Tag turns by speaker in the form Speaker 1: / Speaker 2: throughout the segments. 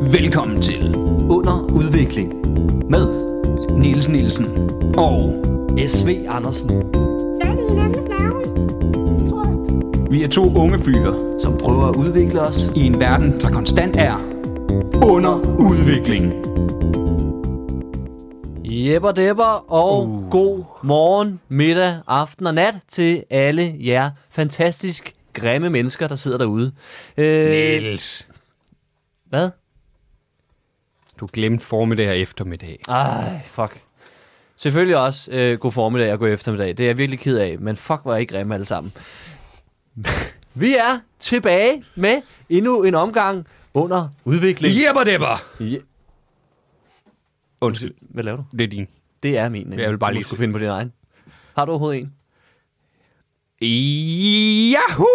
Speaker 1: Velkommen til
Speaker 2: Under udvikling med
Speaker 1: Niels Nielsen og
Speaker 2: SV Andersen,
Speaker 3: fat i hinandens navle. Tror jeg.
Speaker 1: vi er to unge fyre
Speaker 2: som prøver at udvikle os.
Speaker 1: i en verden, der konstant er under udvikling.
Speaker 4: Jepper depper, og uh. god morgen, middag, aften og nat til alle jer fantastisk grimme mennesker, der sidder derude. Øh,
Speaker 5: Niels,
Speaker 4: hvad?
Speaker 5: du glemte formiddag og eftermiddag.
Speaker 4: Ej, fuck. Selvfølgelig også øh, god formiddag og god eftermiddag. Det er jeg virkelig ked af, men fuck, var ikke grimme alle sammen. Vi er tilbage med endnu en omgang under udvikling.
Speaker 5: Jebber debber!
Speaker 4: Je-
Speaker 5: Undskyld,
Speaker 4: Hvad laver du?
Speaker 5: det er din.
Speaker 4: Det er min.
Speaker 5: Jeg vil bare
Speaker 4: Du
Speaker 5: lige
Speaker 4: skulle
Speaker 5: se-
Speaker 4: finde på din egen. Har du overhovedet en?
Speaker 5: Yahoo!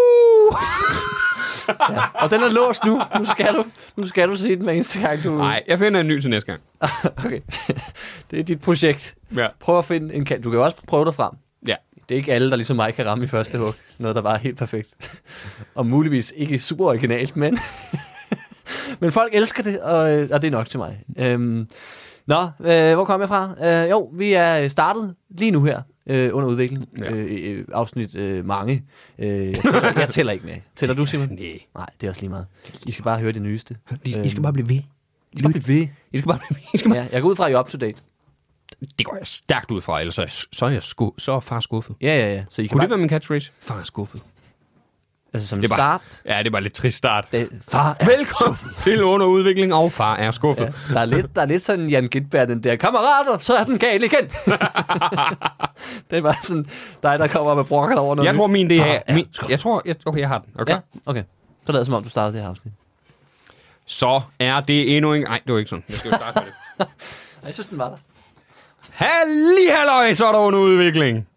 Speaker 4: Og den er låst nu. Nu skal du, nu skal du se den hver eneste gang, du...
Speaker 5: Nej, jeg finder en ny til næste gang.
Speaker 4: Okay. Det er dit projekt.
Speaker 5: Ja.
Speaker 4: Prøv at finde en kan. Du kan jo også prøve dig frem.
Speaker 5: Ja.
Speaker 4: Det er ikke alle, der ligesom mig kan ramme i første hug. Noget, der bare er helt perfekt. Og muligvis ikke super originalt, men... men folk elsker det, og, øh, og det er nok til mig. Øhm, nå, øh, hvor kom jeg fra? Øh, jo, vi er øh, startet lige nu her. Øh, under udvikling.
Speaker 5: Ja.
Speaker 4: Ja. Øh, øh, afsnit øh, mange. Øh, jeg, tæller, jeg tæller ikke med. Tæller du, Simon?
Speaker 5: Nej.
Speaker 4: Nej, det er også lige meget. I skal bare høre det nyeste.
Speaker 5: I, I
Speaker 4: Øhm.
Speaker 5: skal bare blive ved.
Speaker 4: I skal bare blive ved.
Speaker 5: I skal bare blive ved. I skal bare...
Speaker 4: Ja, jeg går ud fra, at I er up to date.
Speaker 5: Det går jeg stærkt ud fra, ellers så er, jeg- så er, jeg sku... så er far skuffet.
Speaker 4: Ja, ja, ja. Så I kan
Speaker 5: Kunne
Speaker 4: bare,
Speaker 5: det være min catchphrase? Far er skuffet.
Speaker 4: altså som
Speaker 5: Det er bare-
Speaker 4: start,
Speaker 5: Ja, det var lidt trist start.
Speaker 4: det, far er
Speaker 5: Velkommen til underudvikling, og far er skuffet. Ja.
Speaker 4: Der er lidt, der er lidt sådan Jan Gitberg, den der, kammerater, så er den gal igen. det var sådan dig, der kommer med brokker over noget
Speaker 5: Jeg tror,
Speaker 4: nyt.
Speaker 5: min det
Speaker 4: Far
Speaker 5: er... Min... Jeg tror... Jeg... Okay, jeg har den. Okay.
Speaker 4: Ja, okay. Så lader det som om, du starter det her afsnit.
Speaker 5: Så er det endnu en... Nej, det var ikke sådan. Jeg skal jo starte med det.
Speaker 4: Jeg synes, den var der.
Speaker 5: Halli, halløj, så er der under udvikling.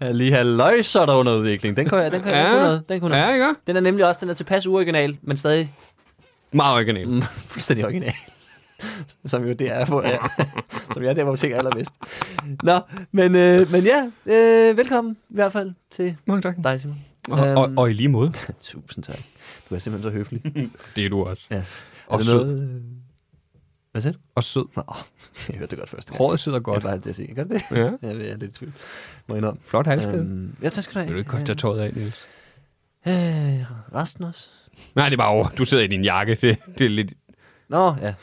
Speaker 4: Ja, lige halløj, så er der under udvikling. Den kunne jeg, den kunne jeg
Speaker 5: Ja.
Speaker 4: den kunne noget. Den, kunne
Speaker 5: Ja,
Speaker 4: noget.
Speaker 5: ikke?
Speaker 4: den er nemlig også, den er tilpas uoriginal, men stadig
Speaker 5: Meget original.
Speaker 4: Mm, fuldstændig original. som jo det er, hvor jeg, som jeg er der, hvor vi tænker allerbedst. Nå, men, øh, men ja, øh, velkommen i hvert fald til
Speaker 5: Mange tak.
Speaker 4: dig, Simon.
Speaker 5: Og, og,
Speaker 4: Øhm,
Speaker 5: og i lige måde.
Speaker 4: Tusind tak. Du er simpelthen så høflig.
Speaker 5: Det er du også.
Speaker 4: Ja.
Speaker 5: Og
Speaker 4: er det
Speaker 5: sød.
Speaker 4: noget... øh, Hvad sagde du?
Speaker 5: Og sød.
Speaker 4: Nå, jeg hørte det godt først.
Speaker 5: Håret sidder
Speaker 4: Godt.
Speaker 5: godt.
Speaker 4: Jeg bare det at sige. Gør det det?
Speaker 5: Ja.
Speaker 4: Ja, jeg er lidt i tvivl. Må jeg indrømme.
Speaker 5: Flot halskæde. Øhm,
Speaker 4: Øhm, ja, tak skal du have.
Speaker 5: vil du ikke godt tage tøjet af, Niels?
Speaker 4: Øh, resten også?
Speaker 5: Nej, det er bare over. Du sidder i din jakke. Det, det er lidt,
Speaker 4: Nå, ja.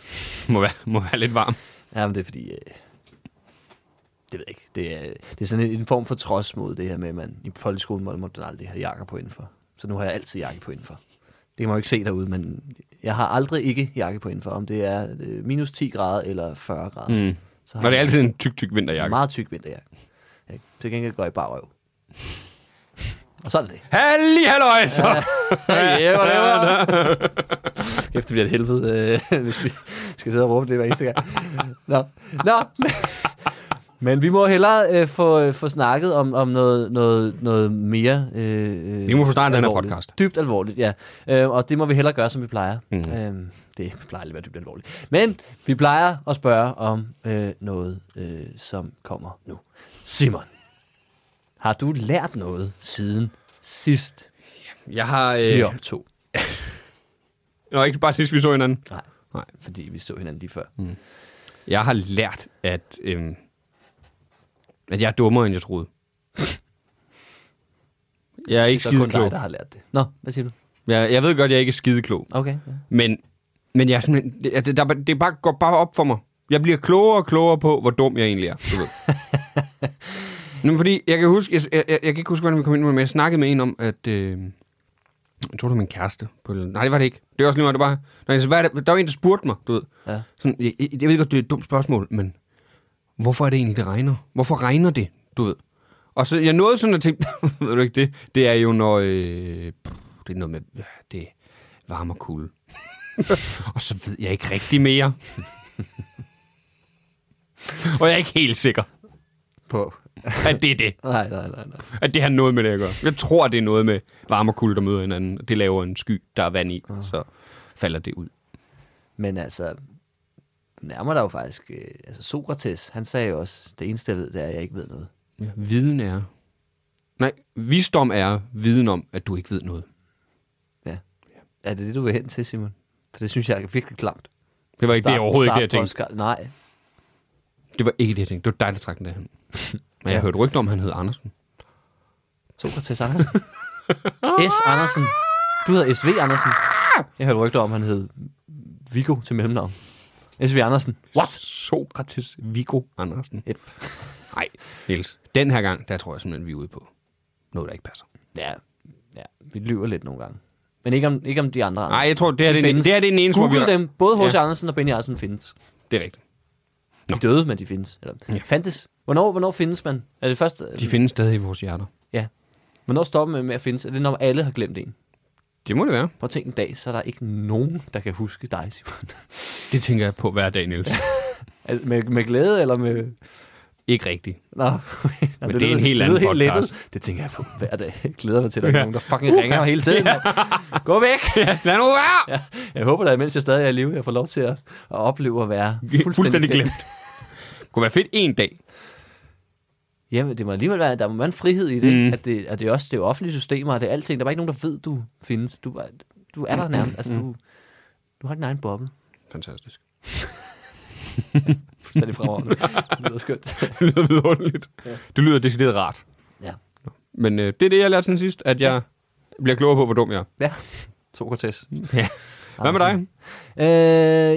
Speaker 5: må, være, må være lidt varm.
Speaker 4: Ja, men det er fordi... Øh, det ved jeg ikke. Det er, det er sådan en, en form for trods mod det her med, at man i folkeskolen måtte, måtte man aldrig have jakker på indenfor. Så nu har jeg altid jakke på indenfor. Det kan man jo ikke se derude, men jeg har aldrig ikke jakke på indenfor. Om det er øh, minus 10 grader eller 40 grader.
Speaker 5: Mm.
Speaker 4: Så
Speaker 5: Og det er
Speaker 4: jeg-
Speaker 5: altid en tyk, tyk vinterjakke.
Speaker 4: Meget tyk vinterjakke. Ja, til gengæld går jeg bare røv. Og så er det det.
Speaker 5: Halli, halløj, så. Ja.
Speaker 4: Ja, hvor det var. Efter bliver det helvede, øh, hvis vi skal sidde og råbe det hver eneste gang. Nå, Nå. Men vi må hellere øh, få, få snakket om, om noget, noget, noget mere... Øh, øh,
Speaker 5: Vi må få startet den her
Speaker 4: alvorligt.
Speaker 5: podcast.
Speaker 4: Dybt alvorligt, ja. Øh, og det må vi hellere gøre, som vi plejer. Mm.
Speaker 5: Mhm.
Speaker 4: Øh, det plejer aldrig at være dybt alvorligt. Men vi plejer at spørge om øh, noget, øh, som kommer nu. Simon, har du lært noget siden sidst,
Speaker 5: Jeg har...
Speaker 4: vi
Speaker 5: Øh...
Speaker 4: optog?
Speaker 5: Nå, ikke bare sidst, vi så hinanden.
Speaker 4: Nej.
Speaker 5: Nej. Mm.
Speaker 4: Fordi vi så hinanden lige før.
Speaker 5: Jeg har lært, at, øhm, at jeg er dummere, end jeg troede. Jeg er ikke
Speaker 4: Så er kun
Speaker 5: skide klog.
Speaker 4: dig, der har lært det. Nå, hvad siger du?
Speaker 5: Jeg, jeg ved godt, jeg ikke er skide klog.
Speaker 4: Okay. Ja.
Speaker 5: Men, men jeg er simpelthen, det, det, der, det er bare, går bare op for mig. Jeg bliver klogere og klogere på, hvor dum jeg egentlig er. Du ved. Nå, men fordi, jeg kan, huske, jeg, jeg, jeg, jeg kan ikke huske, hvordan vi kom ind med det, men jeg snakkede med en om, at... Øh, jeg tror, det var min kæreste. På, et eller andet- nej, det var det ikke. Det var også lige meget, det var... Når jeg, så, hvad er det, der var en, der spurgte mig, du ved.
Speaker 4: Ja.
Speaker 5: Sådan, jeg, jeg, jeg ved godt, det er et dumt spørgsmål, men hvorfor er det egentlig, det regner? Hvorfor regner det, du ved? Og så jeg nåede sådan at tænke, ved du ikke det? Det er jo, når... Øh, pff, det er noget med... ja, Det er varme og kulde. og så ved jeg ikke rigtig mere. og jeg er ikke helt sikker,
Speaker 4: På.
Speaker 5: at det er det.
Speaker 4: Nej, nej, nej, nej.
Speaker 5: At det har noget med det at gøre. Jeg tror, det er noget med varme og kulde, der møder hinanden. Det laver en sky, der er vand i, så falder det ud.
Speaker 4: Men altså, nærmer der jo faktisk... Øh, altså, Sokrates, han sagde jo også, det eneste, jeg ved, det er, at jeg ikke ved noget.
Speaker 5: Ja. Viden er... Nej, visdom er viden om, at du ikke ved noget.
Speaker 4: Ja. Er det det, du vil hen til, Simon? For det synes jeg er virkelig klamt.
Speaker 5: Det var ikke det, overhovedet ikke det, jeg tænkte.
Speaker 4: Oscar. Nej,
Speaker 5: Det var ikke det, jeg tænkte. Det var dig, der trak den derhen. Men jeg hørte rygter om, at han hed Andersen.
Speaker 4: Sokrates Andersen. S. Andersen. Du hedder S.V. Andersen. Jeg hørte rygter om, han hed Viggo til mellemnavn. S.V. Andersen.
Speaker 5: What? Sokrates Viggo Andersen.
Speaker 4: Yep.
Speaker 5: Nej, Niels. Den her gang, der tror jeg simpelthen, vi er ude på noget, der ikke passer.
Speaker 4: Ja, ja. vi lyver lidt nogle gange. Men ikke om, ikke om de andre.
Speaker 5: Nej,
Speaker 4: Andersen.
Speaker 5: jeg tror, det her,
Speaker 4: De
Speaker 5: det er, den,
Speaker 4: findes.
Speaker 5: det her det er den eneste, hvor vi...
Speaker 4: Google dem. Både H.C.
Speaker 5: Ja.
Speaker 4: Andersen og Benny Andersen findes.
Speaker 5: Det er rigtigt.
Speaker 4: De er døde, men de findes. Eller,
Speaker 5: Ja.
Speaker 4: ja. Fandtes. Hvornår, hvornår findes man? Er det først,
Speaker 5: De findes stadig i vores hjerter.
Speaker 4: ja. Hvornår stopper man med at findes? Er det, når alle har glemt en?
Speaker 5: Det må det være.
Speaker 4: Prøv at tænke en dag, så er der ikke nogen, der kan huske dig, Simon.
Speaker 5: Det tænker jeg på hver dag, Niels.
Speaker 4: Altså, med, med glæde eller med...
Speaker 5: ikke rigtigt.
Speaker 4: Nå, Nå,
Speaker 5: det er
Speaker 4: lyder-
Speaker 5: en helt
Speaker 4: lyder
Speaker 5: anden
Speaker 4: lettet.
Speaker 5: podcast.
Speaker 4: Det tænker jeg på hver dag. Jeg glæder mig til, at der er nogen, der fucking ringer mig hele tiden. mand. Gå væk!
Speaker 5: Lad nu være!
Speaker 4: Ja, jeg håber da, mens jeg stadig er i live, jeg får lov til at, at opleve at være fuldstændig,
Speaker 5: Fuldstændig glemt. Kunne være fedt en dag.
Speaker 4: Jamen, det må alligevel være, der må være en frihed i det,
Speaker 5: Mm.
Speaker 4: mm. at det, at det er også det er offentlige systemer, og det er alting. Der er bare ikke nogen, der ved, du findes. Du, er- du er der nærmest.
Speaker 5: Mm.
Speaker 4: Altså, du, du har din egen boble.
Speaker 5: Fantastisk.
Speaker 4: Fuldstændig fremragende. Det lyder skønt.
Speaker 5: det lyder vidunderligt. Ja. Det lyder decideret rart.
Speaker 4: Ja.
Speaker 5: Men øh, det er det, jeg lærte siden sidst, at jeg bliver klogere på, hvor dum jeg er.
Speaker 4: Ja. Sokrates.
Speaker 5: Ja. Hvad med dig?
Speaker 4: Øh,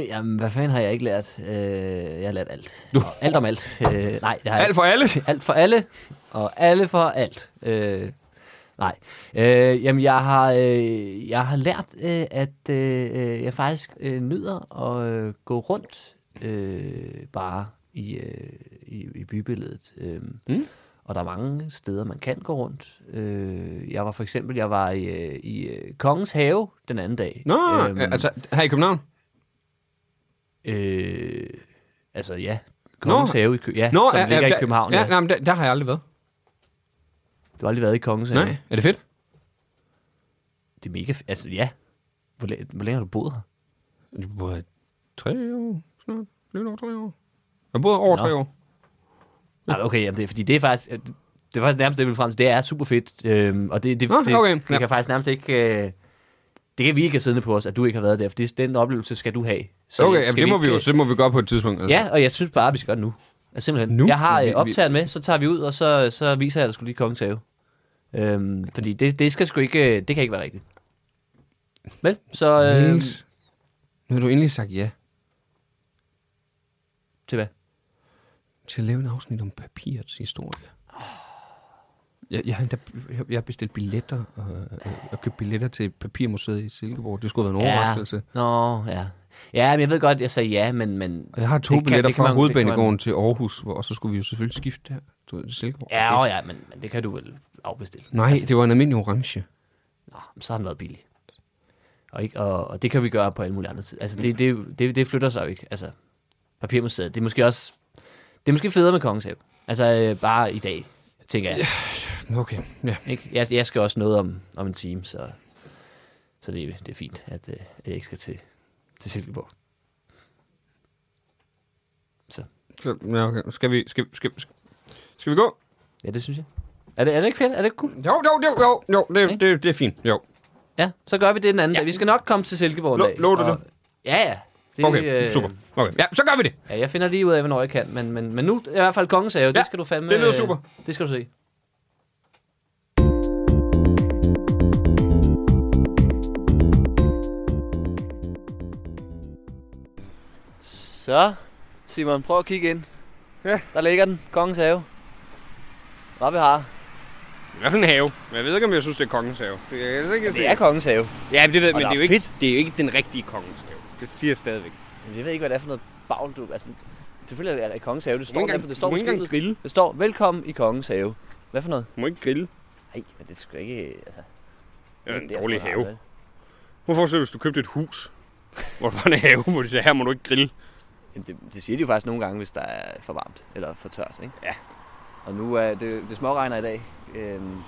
Speaker 4: jamen, hvad fanden har jeg ikke lært? Øh, jeg har lært alt.
Speaker 5: Du-
Speaker 4: Du. Alt om alt. Øh, nej, det har jeg
Speaker 5: Alt for alle?
Speaker 4: alt for alle, og alle for alt. Øh, nej. Øh, jamen, jeg har, øh, jeg har lært, øh, at øh, jeg faktisk øh, nyder at øh, gå rundt øh, bare i, øh, i, i bybilledet. Øh, mm. Og der er mange steder, man kan gå rundt. Øh, jeg var for eksempel, jeg var i, øh, i øh, Kongens Have den anden dag.
Speaker 5: Nå,
Speaker 4: Øhm,
Speaker 5: øh, altså her i København?
Speaker 4: Øh, altså, ja. Kongens
Speaker 5: Nå.
Speaker 4: Have i, Kø- ja, Nå, som ligger i København.
Speaker 5: Ja,
Speaker 4: Ja.
Speaker 5: ja. Nej, men der, der har jeg aldrig været.
Speaker 4: Du har aldrig været i Kongens Have?
Speaker 5: Nej, er det fedt?
Speaker 4: Det er mega... f- Altså, ja. Hvor, læ- hvor længe har du boet her?
Speaker 5: Du boede tre år snart. Lidt over tre år. Jeg boede over
Speaker 4: Nå.
Speaker 5: tre år.
Speaker 4: Nej, Ah, okay, jamen, det er, fordi det er faktisk... øh, Det er faktisk nærmest det, jeg vil frem til. Det er super fedt. Øhm, og det, det,
Speaker 5: Nå,
Speaker 4: det,
Speaker 5: okay,
Speaker 4: det
Speaker 5: ja.
Speaker 4: kan faktisk nærmest ikke... Øh, det kan vi ikke have siddende på os, at du ikke har været der, for det, den oplevelse skal du have. Så
Speaker 5: Okay,
Speaker 4: skal
Speaker 5: jamen, det, må vi jo,
Speaker 4: ikke-
Speaker 5: det må vi gøre på et tidspunkt. Altså.
Speaker 4: Ja, og jeg synes bare, at vi skal gøre det nu. Altså, simpelthen.
Speaker 5: Nu?
Speaker 4: Nu? Jeg har
Speaker 5: Vi-
Speaker 4: øh,
Speaker 5: vi-
Speaker 4: optageren med, så tager vi ud, og så, så viser jeg, at der skulle lige kongens have. Øhm, fordi det, det skal sgu ikke... øh, Det kan ikke være rigtigt. Men, så... Øh,
Speaker 5: Niels, øhm, nu har du endelig sagt ja
Speaker 4: til hvad?
Speaker 5: til at lave en afsnit om papirets historie. Jeg, jeg, har endda- jeg, jeg har bestilt billetter og, og, og købt billetter til Papirmuseet i Silkeborg. Det skulle have været en overraskelse.
Speaker 4: Ja. Nå, ja. Ja, men jeg ved godt, jeg sagde ja, men... men
Speaker 5: Og jeg har to
Speaker 4: Det kan-
Speaker 5: billetter
Speaker 4: det kan
Speaker 5: fra
Speaker 4: man- det kan
Speaker 5: Hovedbanegården til Aarhus, hvor, og så skulle vi jo selvfølgelig skifte der du ved, til Silkeborg.
Speaker 4: Ja, og ja, men, men det kan du vel afbestille. Altså,
Speaker 5: Nej, det var en almindelig orange.
Speaker 4: Nå, men så har den været billig. Og, ikke, og, og det kan vi gøre på alle mulige andre tider. Altså, det, det, det, det flytter sig jo ikke. Altså, Papirmuseet, det er måske også... Det er måske federe med Kongens Have. Altså, øh, bare i dag, tænker jeg.
Speaker 5: Okay, ja.
Speaker 4: Ikke? Jeg, jeg skal også noget om, om en time, så, så det, er- det er fint, at, øh, at jeg ikke skal til, til Silkeborg. Så,
Speaker 5: Så, ja okay. Skal, vi, skal, skal, skal, skal vi gå?
Speaker 4: ja, det synes jeg. Er det, er det ikke fedt? Er det ikke cool?
Speaker 5: Jo, jo, jo, jo, jo det,
Speaker 4: Ikke?
Speaker 5: det, det er fint. Jo.
Speaker 4: Ja, så gør vi det den anden ja. dag. Vi skal nok komme til Silkeborg en
Speaker 5: Lo-
Speaker 4: dag.
Speaker 5: lover du
Speaker 4: og-
Speaker 5: det?
Speaker 4: Ja, ja. Det, øh,
Speaker 5: Okay, super. Okay. Ja, så gør vi det.
Speaker 4: Ja, jeg finder lige ud af, hvornår jeg kan, men, men, men nu er i hvert fald kongens have.
Speaker 5: Ja,
Speaker 4: det skal du fandme...
Speaker 5: det lyder
Speaker 4: øh,
Speaker 5: super.
Speaker 4: Det skal du se. Så, Simon, prøv at kigge ind.
Speaker 5: Ja.
Speaker 4: Der ligger den, kongens have. Hvad vi har.
Speaker 5: I hvert fald en have. Men jeg ved ikke, om jeg synes, det er kongens have. Det er, altså ikke,
Speaker 4: Det er kongens have.
Speaker 5: Ja, men det ved,
Speaker 4: Og
Speaker 5: men det
Speaker 4: der
Speaker 5: er, jo
Speaker 4: er
Speaker 5: ikke,
Speaker 4: fedt.
Speaker 5: det er jo ikke den rigtige kongens have. Det siger jeg stadigvæk. Du
Speaker 4: Men jeg ved ikke, hvad det er for noget bagl, du... Altså, selvfølgelig er det kongens have. Det
Speaker 5: må
Speaker 4: står,
Speaker 5: ikke
Speaker 4: der,
Speaker 5: engang,
Speaker 4: det
Speaker 5: du
Speaker 4: står
Speaker 5: må
Speaker 4: på
Speaker 5: ikke engang
Speaker 4: skiltet.
Speaker 5: grille.
Speaker 4: Det står, velkommen i kongens have. Hvad for noget?
Speaker 5: Du må ikke grille.
Speaker 4: Nej, men det skal ikke... Altså,
Speaker 5: Det er en
Speaker 4: derfor,
Speaker 5: dårlig
Speaker 4: der er
Speaker 5: have.
Speaker 4: noget.
Speaker 5: Prøv at forestille dig, hvis du købte et hus, hvor der var en have, hvor de sagde, her må du ikke grille.
Speaker 4: Jamen, det, det siger de jo faktisk nogle gange, hvis der er for varmt eller for tørt, ikke?
Speaker 5: Ja.
Speaker 4: Og nu er det, det småregner i dag. Øhm,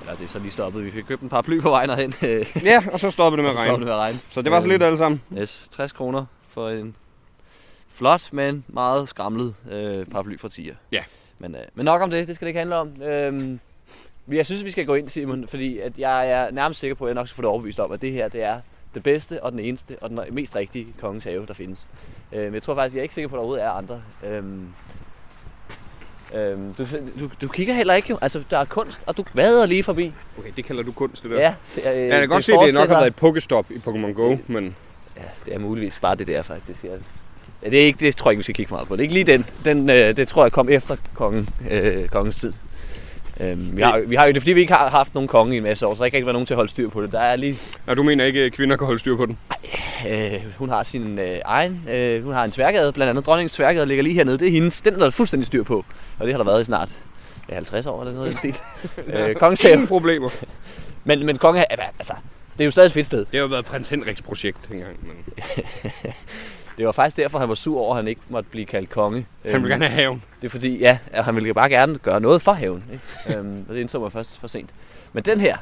Speaker 4: eller det er så lige stoppet. Vi fik købt en par bly på vejen herhen. øh, så
Speaker 5: Ja, og så stoppede det med at
Speaker 4: stopper det
Speaker 5: regne.
Speaker 4: med at regne.
Speaker 5: Så det var så lidt alle sammen.
Speaker 4: Øhm, yes, 60 kroner for en flot, men meget skramlet øh, paraply fra Tier.
Speaker 5: Ja.
Speaker 4: Men, øh, men nok om det, det skal det ikke handle om. Øhm, jeg synes, vi skal gå ind, Simon, fordi at jeg er nærmest sikker på, at jeg nok skal få det overbevist om, at det her det er den bedste og den eneste og den mest rigtige kongens have, der findes. Øh, men jeg tror faktisk, jeg er ikke sikker på, at der overhovedet er andre. Øhm, øhm, du, du, du kigger heller ikke jo. Altså, der er kunst, og du vader lige forbi.
Speaker 5: Okay, det kalder du kunst, det der.
Speaker 4: Ja, det er, øh,
Speaker 5: jeg kan godt se, det
Speaker 4: forestiller-
Speaker 5: nok har været et pokestop i Pokémon Go, men...
Speaker 4: Ja, det er muligvis bare det der, faktisk. Ja. Ja, det, er ikke, det tror jeg ikke, vi skal kigge meget på. Det er ikke lige den. den øh, det tror jeg kom efter kongen, øh, kongens tid. Øhm, vi, har, vi har jo det, er, fordi vi ikke har haft nogen konge i en masse år, så der har ikke rigtig været nogen til at holde styr på det. Der er lige,
Speaker 5: Ja, du mener ikke, at kvinder kan holde styr på den?
Speaker 4: øh, hun har sin øh, egen, øh, hun har en tværgade, blandt andet dronningens tværgade ligger lige hernede. Det er hendes, den er der fuldstændig styr på, og det har der været i snart ja, 50 år eller noget i den stil. øh, kongens
Speaker 5: Ingen
Speaker 4: have.
Speaker 5: problemer.
Speaker 4: Men, men konge, altså, det er jo stadig et fedt sted.
Speaker 5: Det har jo været prins Henriks projekt engang, men...
Speaker 4: Det var faktisk derfor, han var sur over, at han ikke måtte blive kaldt konge.
Speaker 5: Han vil
Speaker 4: Øhm,
Speaker 5: gerne have haven.
Speaker 4: Det er fordi, ja, at han ville bare gerne gøre noget for haven. Ikke? øhm, og det indså man først for sent. Men den her,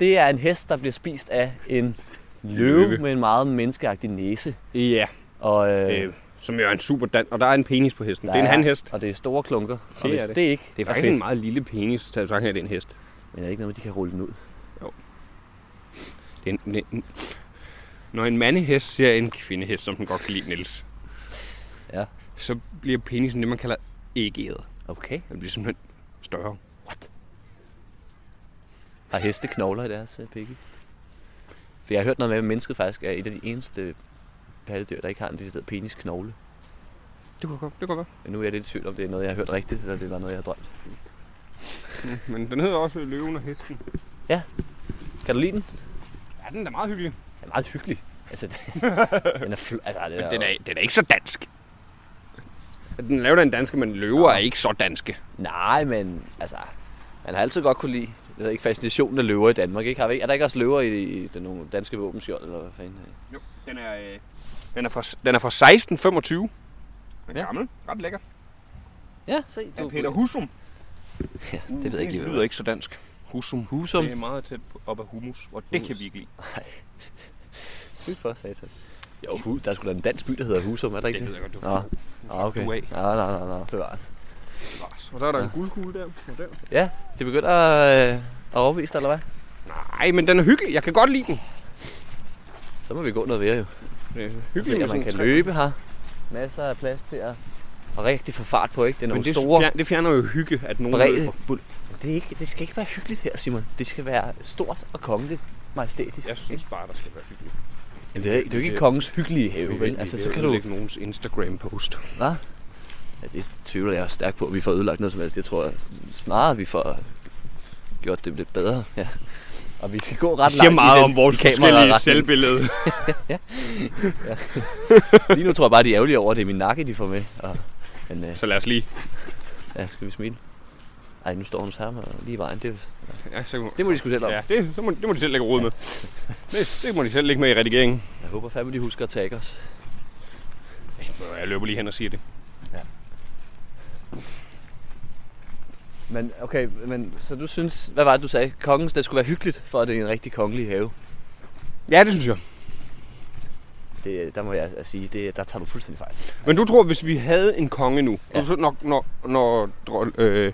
Speaker 4: det er en hest, der bliver spist af en løve,
Speaker 5: Løve.
Speaker 4: med en meget menneskeagtig næse.
Speaker 5: Ja,
Speaker 4: Og, øh,
Speaker 5: øh, som jo er en super dan... Og der er en penis på hesten.
Speaker 4: der
Speaker 5: Det er en handhest.
Speaker 4: Og det er store klunker.
Speaker 5: Det
Speaker 4: og hvis
Speaker 5: er
Speaker 4: det.
Speaker 5: det.
Speaker 4: ikke
Speaker 5: Det er faktisk en meget lille penis, taget sagt, at det er en hest.
Speaker 4: Men er det ikke noget, med, de kan rulle den ud?
Speaker 5: Det er en, en, en, når en mandehest ser en kvindehest, som den godt kan lide, Niels,
Speaker 4: Ja.
Speaker 5: så bliver penisen det, man kalder ægget.
Speaker 4: Okay.
Speaker 5: Den bliver simpelthen større.
Speaker 4: Har heste knogler i deres øh, pikke? For jeg har hørt noget med, at mennesket faktisk er et af de eneste pattedyr, der ikke har en decideret penisknogle.
Speaker 5: Det kunne godt, det kunne godt
Speaker 4: Men nu er jeg lidt i tvivl om, det er noget, jeg har hørt rigtigt, eller det var noget, jeg har drømt.
Speaker 5: være. Men den hedder også løven og hesten.
Speaker 4: Kan du lide den?
Speaker 5: Ja, den er meget hyggelig.
Speaker 4: Den er meget hyggelig. Altså, det- den er fl- altså, det
Speaker 5: Men
Speaker 4: er,
Speaker 5: den er, den er ikke så dansk. Den laver en danske, men løver er ikke så danske.
Speaker 4: Nej, men altså, man har altid godt kunne lide jeg ved ikke, fascinationen af løver i Danmark. Ikke? Har vi ikke? Er der ikke også løver i, i den nogle danske våbenskjold? Eller hvad fanden?
Speaker 5: Jo, den er, øh, den er fra, den er fra 1625. Den er
Speaker 4: Ja.
Speaker 5: gammel. Ret lækker.
Speaker 4: Ja, se.
Speaker 5: Af Peter Husum.
Speaker 4: Ja, det ved jeg ikke lige,
Speaker 5: det
Speaker 4: hvad
Speaker 5: lyder
Speaker 4: det
Speaker 5: ikke så dansk. Husum.
Speaker 4: Husum.
Speaker 5: Det er meget tæt på- op af humus, og det
Speaker 4: Humus.
Speaker 5: kan vi ikke lide.
Speaker 4: er. Fy for satan. Jo, hu- der er sgu da en dansk by, der hedder Husum, er der ikke
Speaker 5: Det
Speaker 4: det?
Speaker 5: ved jeg godt, du
Speaker 4: Nå, Nå, okay.
Speaker 5: du af.
Speaker 4: Nå, nå, nå, nå, bevares.
Speaker 5: Og så er der en guldkugle der. og der.
Speaker 4: Ja, det begynder at, øh, at overbevise dig, eller hvad?
Speaker 5: Nej, men den er hyggelig. Jeg kan godt lide den.
Speaker 4: Så må vi gå noget mere, jo.
Speaker 5: Det er
Speaker 4: Se,
Speaker 5: med
Speaker 4: at man
Speaker 5: sådan
Speaker 4: kan
Speaker 5: træer.
Speaker 4: løbe her. Masser af plads til at, at rigtig få fart på, ikke? Det er
Speaker 5: Men
Speaker 4: nogle
Speaker 5: det,
Speaker 4: store...
Speaker 5: fjer- det fjerner jo hygge, at nogen
Speaker 4: brede
Speaker 5: løber.
Speaker 4: bul. Det, er ikke, det skal ikke være hyggeligt her, Simon. Det skal være stort og kongeligt majestætisk.
Speaker 5: Jeg synes bare, der skal være hyggeligt.
Speaker 4: Jamen, det, er, det er jo ikke kongens hyggelige have, vel? Altså, så kan du...
Speaker 5: lægge nogens Instagram-post.
Speaker 4: Ja, det tvivler jeg stærkt på, at vi får ødelagt noget som helst. Jeg tror snarere, at vi får gjort det lidt bedre. Ja. Og vi skal gå ret
Speaker 5: Det siger
Speaker 4: langt i
Speaker 5: meget
Speaker 4: den-
Speaker 5: om vores
Speaker 4: i kameraretning.
Speaker 5: forskellige selvbillede.
Speaker 4: Lige nu tror jeg bare, de er ærgerlige over, at det er min nakke, de får med. Og, men øh,
Speaker 5: Så lad os lige...
Speaker 4: ja, skal vi smile? Ej, nu står hun sammen og lige i vejen. Det,
Speaker 5: Ja, så må,
Speaker 4: det må de sgu selv om.
Speaker 5: ja det, så må, det må de selv lægge råd med. Det, det må de selv lægge med i redigeringen.
Speaker 4: Jeg håber fandme, de husker at tagge os.
Speaker 5: Jeg løber lige hen og siger det.
Speaker 4: Men okay, men så du synes, hvad var det du sagde? Kongens, det skulle være hyggeligt, for at det er en rigtig kongelig have.
Speaker 5: Ja, det synes jeg.
Speaker 4: Det, der må jeg sige, det, der tager du fuldstændig fejl.
Speaker 5: Men du tror, hvis vi havde en konge nu,
Speaker 4: Ja.
Speaker 5: ja. så når, når, når dro- øh,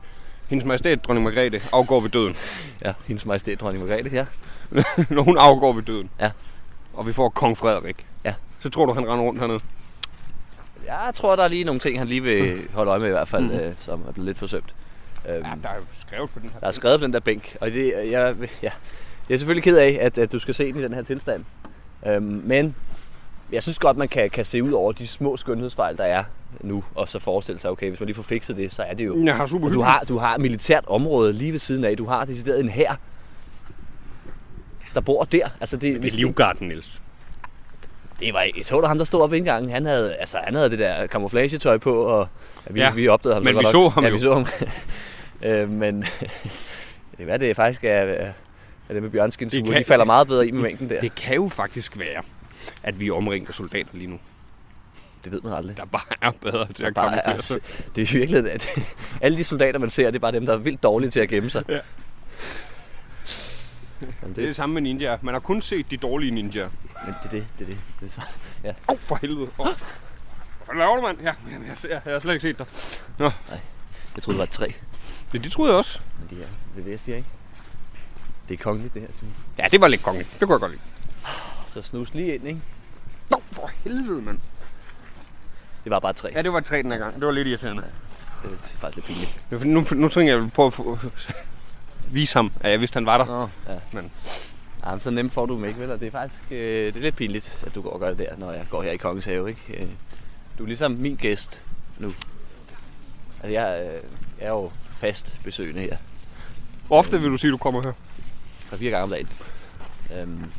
Speaker 5: hendes majestæt, dronning Margrethe, afgår ved døden.
Speaker 4: Ja, hendes majestæt dronning Margrethe her.
Speaker 5: når hun afgår ved døden.
Speaker 4: Ja.
Speaker 5: Og vi får kong Frederik.
Speaker 4: Ja.
Speaker 5: Så tror du, han render rundt hernede?
Speaker 4: Jeg tror, der er lige nogle ting, han lige vil holde øje med i hvert fald, mm. øh, som er blevet lidt forsømt. Øhm,
Speaker 5: Ja, der er jo skrevet på den her.
Speaker 4: der er skrevet på den der bænk, og det, jeg, jeg, jeg er selvfølgelig ked af, at, at du skal se den i den her tilstand. Øhm, men jeg synes godt, man kan, kan se ud over de små skønhedsfejl, der er nu, og så forestille sig, okay, hvis man lige får fikset det, så er det jo
Speaker 5: Jeg har super
Speaker 4: Og du
Speaker 5: hyggeligt.
Speaker 4: har, du har et militært område lige ved siden af. Du har decideret en hær, der bor der. Altså det,
Speaker 5: Det
Speaker 4: hvis
Speaker 5: er livgarden, Niels.
Speaker 4: det var ikke. Så du ham, der stod op ved indgangen. Han havde, altså, han havde det der camouflagetøj på, og ja, vi, ja,
Speaker 5: Ja,
Speaker 4: vi opdagede ham.
Speaker 5: men
Speaker 4: godt
Speaker 5: vi
Speaker 4: nok.
Speaker 5: så ham
Speaker 4: ja,
Speaker 5: jo.
Speaker 4: vi så ham. øh, men det er det faktisk er, er det med Bjørnskins
Speaker 5: Det
Speaker 4: uge.
Speaker 5: kan-
Speaker 4: De falder meget bedre i med mængden der. Det,
Speaker 5: Det kan jo faktisk være, at vi omringer soldater lige nu,
Speaker 4: det ved man aldrig.
Speaker 5: der bare er bedre til at
Speaker 4: Bare,
Speaker 5: komme
Speaker 4: er-
Speaker 5: altså,
Speaker 4: det er virkelig, at alle de soldater, man ser, det er bare dem, der er vildt dårlige til at gemme sig. Ja. Jamen,
Speaker 5: Det er det samme med ninja. Man har kun set de dårlige ninja. Åh,
Speaker 4: Men det er det, det er det. det er så. Ja.
Speaker 5: oh, for helvede. Oh. Hvad laver du, mand? Ja, jamen, jeg, jeg, jeg har slet ikke set dig.
Speaker 4: Jeg troede, det var et træ.
Speaker 5: Det, det troede jeg også.
Speaker 4: Men det er, det er det, jeg siger, ikke? Det er kongeligt, det her, synes jeg.
Speaker 5: Ja, det var lidt kongeligt. Det kunne jeg godt lide.
Speaker 4: Så snus lige ind, ikke?
Speaker 5: Nå, for helvede, mand.
Speaker 4: Det var bare tre.
Speaker 5: Ja, det var tre den her gang. Det var lidt irriterende.
Speaker 4: Det er faktisk lidt pinligt.
Speaker 5: Det var- Nu, nu tænker jeg på at få, vise ham, at jeg vidste, han var der.
Speaker 4: Nå, ja.
Speaker 5: Men-
Speaker 4: Ja, men så nemt får du dem ikke, vel? Og det er faktisk øh, det er lidt pinligt, at du går og gør det der, når jeg går her i Kongens Have, ikke? Øh, du er ligesom min gæst nu. Altså, jeg, øh, jeg er jo fast besøgende her.
Speaker 5: Hvor ofte vil du sige, at du kommer her?
Speaker 4: tre fire gange om dagen. Øhm,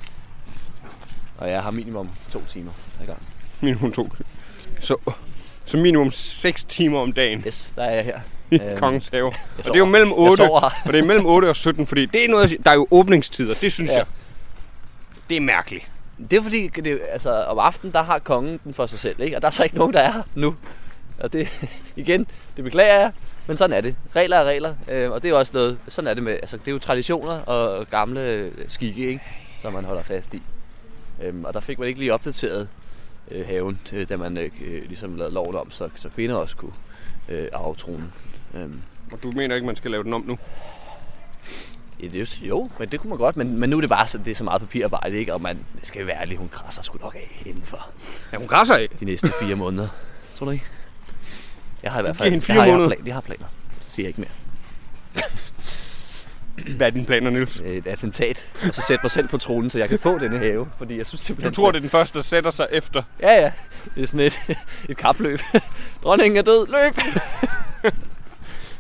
Speaker 4: og jeg har minimum to timer ad gang.
Speaker 5: Minimum to. Så, så minimum 6 timer om dagen
Speaker 4: Yes, der er jeg her.
Speaker 5: i
Speaker 4: Øhm,
Speaker 5: Kongens Have. Og det
Speaker 4: sover.
Speaker 5: er jo mellem
Speaker 4: Jeg
Speaker 5: 8,
Speaker 4: sover
Speaker 5: og det er mellem 8 og 17, fordi det er noget, jeg siger- der er jo åbningstider. Det synes
Speaker 4: Ja.
Speaker 5: ja. jeg. Det er mærkeligt.
Speaker 4: Det er fordi, det, altså, om aftenen, der har kongen den for sig selv, ikke? Og der er så ikke nogen, der er her nu. Og det, igen, det beklager jeg, men sådan er det. Regler er regler, øh, og det er jo også noget, sådan er det med, altså det er jo traditioner og gamle øh, skikke, ikke? Som man holder fast i. Øhm, og der fik man ikke lige opdateret øh, haven, øh, da man øh, ligesom lavede loven om, så, så kvinder også kunne øh, arve tronen. Øhm,
Speaker 5: Og du mener ikke, man skal lave den om nu?
Speaker 4: Ja, det er jo, jo, men det kunne man godt, men, men nu er det bare så, det er så meget papirarbejde, ikke? Og man skal være ærlig, hun krasser sgu nok af inden for
Speaker 5: Ja, hun græsser af.
Speaker 4: de næste fire måneder. Tror du ikke? Jeg har i hvert
Speaker 5: giver
Speaker 4: fald
Speaker 5: hende fire
Speaker 4: jeg har, jeg har
Speaker 5: måneder.
Speaker 4: plan, jeg har planer. Så siger jeg ikke mere.
Speaker 5: Hvad er dine planer, Niels?
Speaker 4: Øh, Et attentat, og så sætte mig selv på tronen, så jeg kan få denne have, fordi jeg synes
Speaker 5: Du
Speaker 4: simpelthen...
Speaker 5: tror, det er den første, der sætter sig efter.
Speaker 4: Ja, ja. Det er sådan et, et kapløb. Dronningen er død, løb!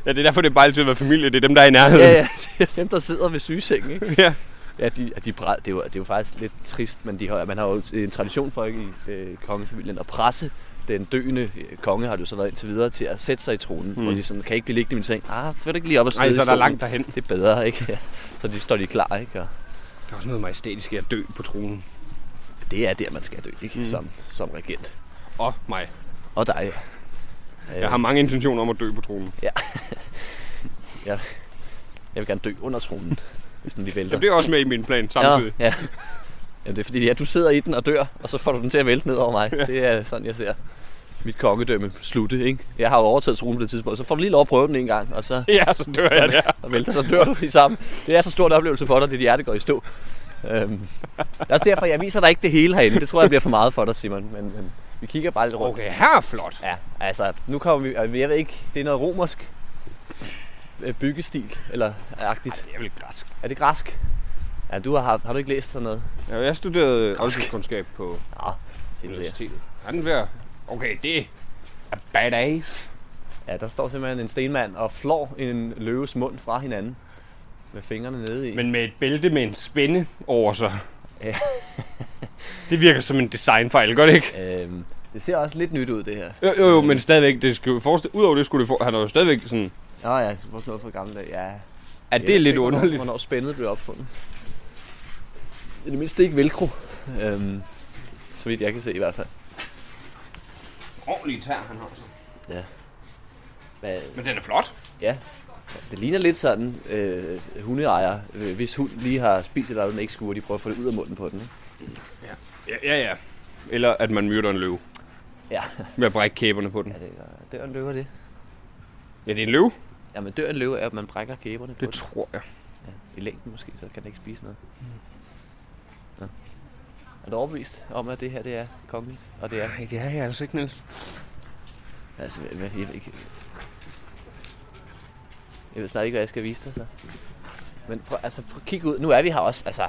Speaker 5: Ja, det er derfor, det er bare altid at være familie. Det er dem, der er i nærheden.
Speaker 4: Ja, ja. Det er Dem, der sidder ved sygesengen, ikke?
Speaker 5: ja.
Speaker 4: Ja, de, de, bræ- det, er jo, det er jo faktisk lidt trist, men de har, man har jo en tradition for ikke i øh, kongefamilien at presse den døende øh, konge, har du så været indtil videre, til at sætte sig i tronen. Mm. Hvor de sådan, kan I ikke blive liggende i min seng. Ah, får du ikke lige op og sidde
Speaker 5: Nej,
Speaker 4: i
Speaker 5: så er der
Speaker 4: stolen?
Speaker 5: langt derhen.
Speaker 4: Det er bedre, ikke? Ja. Så de står lige klar, ikke? Og
Speaker 5: Det er også noget majestætisk at dø på tronen.
Speaker 4: det er der, man skal dø, ikke? Mm. Som, som regent.
Speaker 5: Åh, oh, mig.
Speaker 4: Og dig. Øh,
Speaker 5: Jeg har mange intentioner om at dø på tronen.
Speaker 4: Jeg vil gerne dø under tronen, hvis den lige vælter.
Speaker 5: Det bliver også med i min plan samtidig.
Speaker 4: Ja, ja. Jamen, det er fordi, ja, du sidder i den og dør, og så får du den til at vælte ned over mig. Ja. Det er sådan, jeg ser mit kongedømme slutte, ikke? Jeg har jo overtaget tronen på det tidspunkt, så får du lige lov at prøve den en gang, og så
Speaker 5: Ja, så dør jeg der.
Speaker 4: og vælter, så dør du i sammen. Det er så stor en oplevelse for dig, at dit hjerte går i stå. Øhm, det er også derfor, jeg viser dig ikke det hele herinde. Det tror jeg bliver for meget for dig, Simon. Men, men vi kigger bare lidt rundt.
Speaker 5: Okay, her er flot.
Speaker 4: Ja, altså, nu kommer vi, og jeg ved ikke, det er noget romersk øh, byggestil, eller agtigt.
Speaker 5: Det er vel græsk.
Speaker 4: Er det græsk? Ja, du har, har du ikke læst sådan noget?
Speaker 5: Ja, jeg studerede oldtidskundskab på
Speaker 4: Nå, se på det.
Speaker 5: universitetet. Er den ved at... Okay, det er badass.
Speaker 4: Ja, der står simpelthen en stenmand og flår en løves mund fra hinanden. Med fingrene nede i. Men,
Speaker 5: Men med et bælte med en spænde over sig.
Speaker 4: Ja.
Speaker 5: det virker som en designfejl, gør det ikke?
Speaker 4: øhm, det ser også lidt nyt ud, det her.
Speaker 5: Jo, jo, jo men stadigvæk, det skulle forestille, udover det skulle det for, han er jo stadigvæk sådan,
Speaker 4: Nå ja, det var sådan noget fra gamle dage. Ja,
Speaker 5: ja,
Speaker 4: Jeg
Speaker 5: det er
Speaker 4: ved
Speaker 5: lidt
Speaker 4: ikke, hvornår-
Speaker 5: underligt.
Speaker 4: Hvornår spændet blev opfundet. I det mindste ikke velcro. Øhm, så vidt jeg kan se i hvert fald.
Speaker 5: Ordentlige tær, han har så.
Speaker 4: Hvad,
Speaker 5: Men den er flot.
Speaker 4: Ja. Det ligner lidt sådan øh, hundeejer, øh, hvis hund lige har spist et eller andet, den ikke skulle, og de prøver at få det ud af munden på den. Ikke?
Speaker 5: Ja, ja, ja. Eller at man myrder en løve.
Speaker 4: Ja.
Speaker 5: Med at brække kæberne på den.
Speaker 4: ja det er, dør en løve det.
Speaker 5: Ja, det er en løve.
Speaker 4: Jamen dør en løve er, at man brækker kæberne på
Speaker 5: Det
Speaker 4: det. Mm.
Speaker 5: tror jeg.
Speaker 4: Ja, I længden måske, så kan den ikke spise noget. Ja. Er du overbevist om, at det her det er kongeligt? Og det er...
Speaker 5: Nej, det er jeg altså ikke, Niels.
Speaker 4: Altså, hvad, hvad, jeg, ved ikke. jeg ved snart ikke, hvad jeg skal vise dig så. Men prøv, altså, prøv, kig ud. Nu er vi her også altså,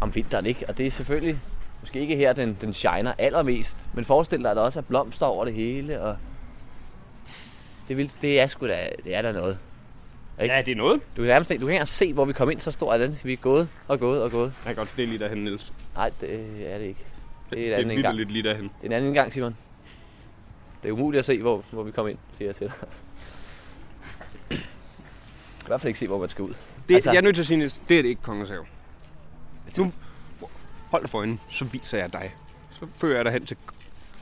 Speaker 4: om vinteren, ikke? Og det er selvfølgelig måske ikke her, den, den shiner allermest. Men forestil dig, at der også er blomster over det hele. Og det, vil, det er sgu da, det er da noget.
Speaker 5: Ja, det er noget.
Speaker 4: Du kan nærmest ikke- du kan ikke engang se, hvor vi kom ind, så stor er den. Vi er gået og gået og gået.
Speaker 5: Jeg kan godt, det er lige derhen, Niels.
Speaker 4: Nej, det er det ikke. Det er en
Speaker 5: det er
Speaker 4: anden gang. Altså-
Speaker 5: lidt lige derhen.
Speaker 4: Det er en anden gang, Simon. Det er umuligt at se, hvor, hvor vi kom ind, siger jeg til dig. I hvert fald ikke se, hvor man skal ud.
Speaker 5: Det,
Speaker 4: Altså-
Speaker 5: altså, jeg er nødt til at sige, Niels, det er det ikke, kongens have. Nu, hold for øjnene, så viser jeg dig. Så fører jeg dig hen til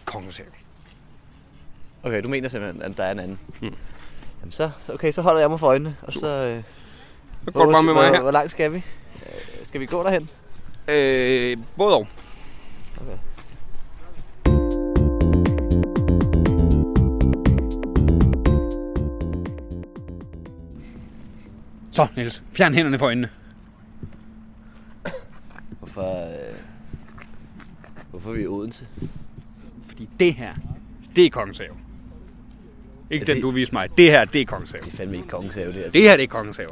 Speaker 5: kongens have.
Speaker 4: Okay, du mener simpelthen, at der er en anden. Hmm. Jamen så, så- okay, så holder jeg mig for øjnene, og så... Øh,
Speaker 5: Så går du bare med mig
Speaker 4: hvor,
Speaker 5: her.
Speaker 4: hvor langt skal vi? Øh, skal vi gå derhen?
Speaker 5: Øh, både og.
Speaker 4: Okay.
Speaker 5: Så, Niels, fjern hænderne for øjnene.
Speaker 4: Hvorfor... Øh, hvorfor vi er i Odense.
Speaker 5: Fordi det her, det er kongens have. Ikke
Speaker 4: Ja,
Speaker 5: den,
Speaker 4: det-
Speaker 5: du viste mig. Det her, det er kongens have.
Speaker 4: Det er fandme ikke kongens have, det her.
Speaker 5: Det her, det er kongens have.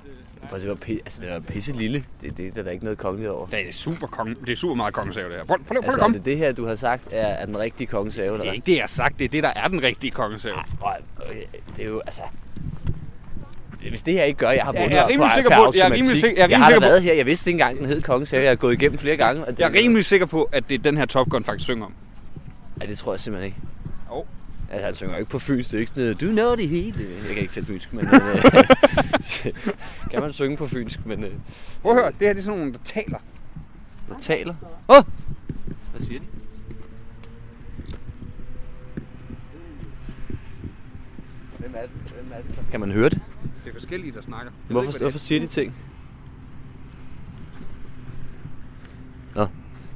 Speaker 4: Prøv at se, hvor pi- altså, det er pisse lille. Det, det, der er da ikke noget kongeligt over.
Speaker 5: Det er super, konge, det er super meget kongens have, det her. Prøv, prøv, prøv, prøv at
Speaker 4: Altså, er
Speaker 5: komme.
Speaker 4: det det her, du har sagt, er, er den rigtige kongens have, eller
Speaker 5: Det er
Speaker 4: hvad?
Speaker 5: ikke det, jeg har sagt. Det er det, der er den rigtige kongens have.
Speaker 4: Prøv, okay, det er jo, altså... Hvis det her ikke gør, jeg har
Speaker 5: Ja, jeg er
Speaker 4: vundet ja,
Speaker 5: rimelig sikker på- jeg er rimelig sikker- jeg er
Speaker 4: jeg
Speaker 5: rimelig
Speaker 4: har da
Speaker 5: sikker på-
Speaker 4: været her, jeg vidste ikke engang, den hed Kongens Have. Jeg har gået igennem flere gange. Og det,
Speaker 5: Jeg er rimelig sikker på, at det er den her Top Gun faktisk synger om.
Speaker 4: Ja, det tror jeg simpelthen ikke.
Speaker 5: Jo.
Speaker 4: Altså, han synger jo ikke på fynsk. Det er jo ikke sådan noget, du know det hele. Jeg kan ikke tale fynsk, men... øh, kan man synge på fynsk, men... Øh,
Speaker 5: Prøv at høre, det her det er sådan nogen, der taler.
Speaker 4: der taler. Åh! Oh! Hvad siger de? Hvem er det? Hvem er det? Kan man høre det?
Speaker 5: Det er forskellige, der snakker. Jeg
Speaker 4: Hvorfor, hvorfor siger de ting? Nå.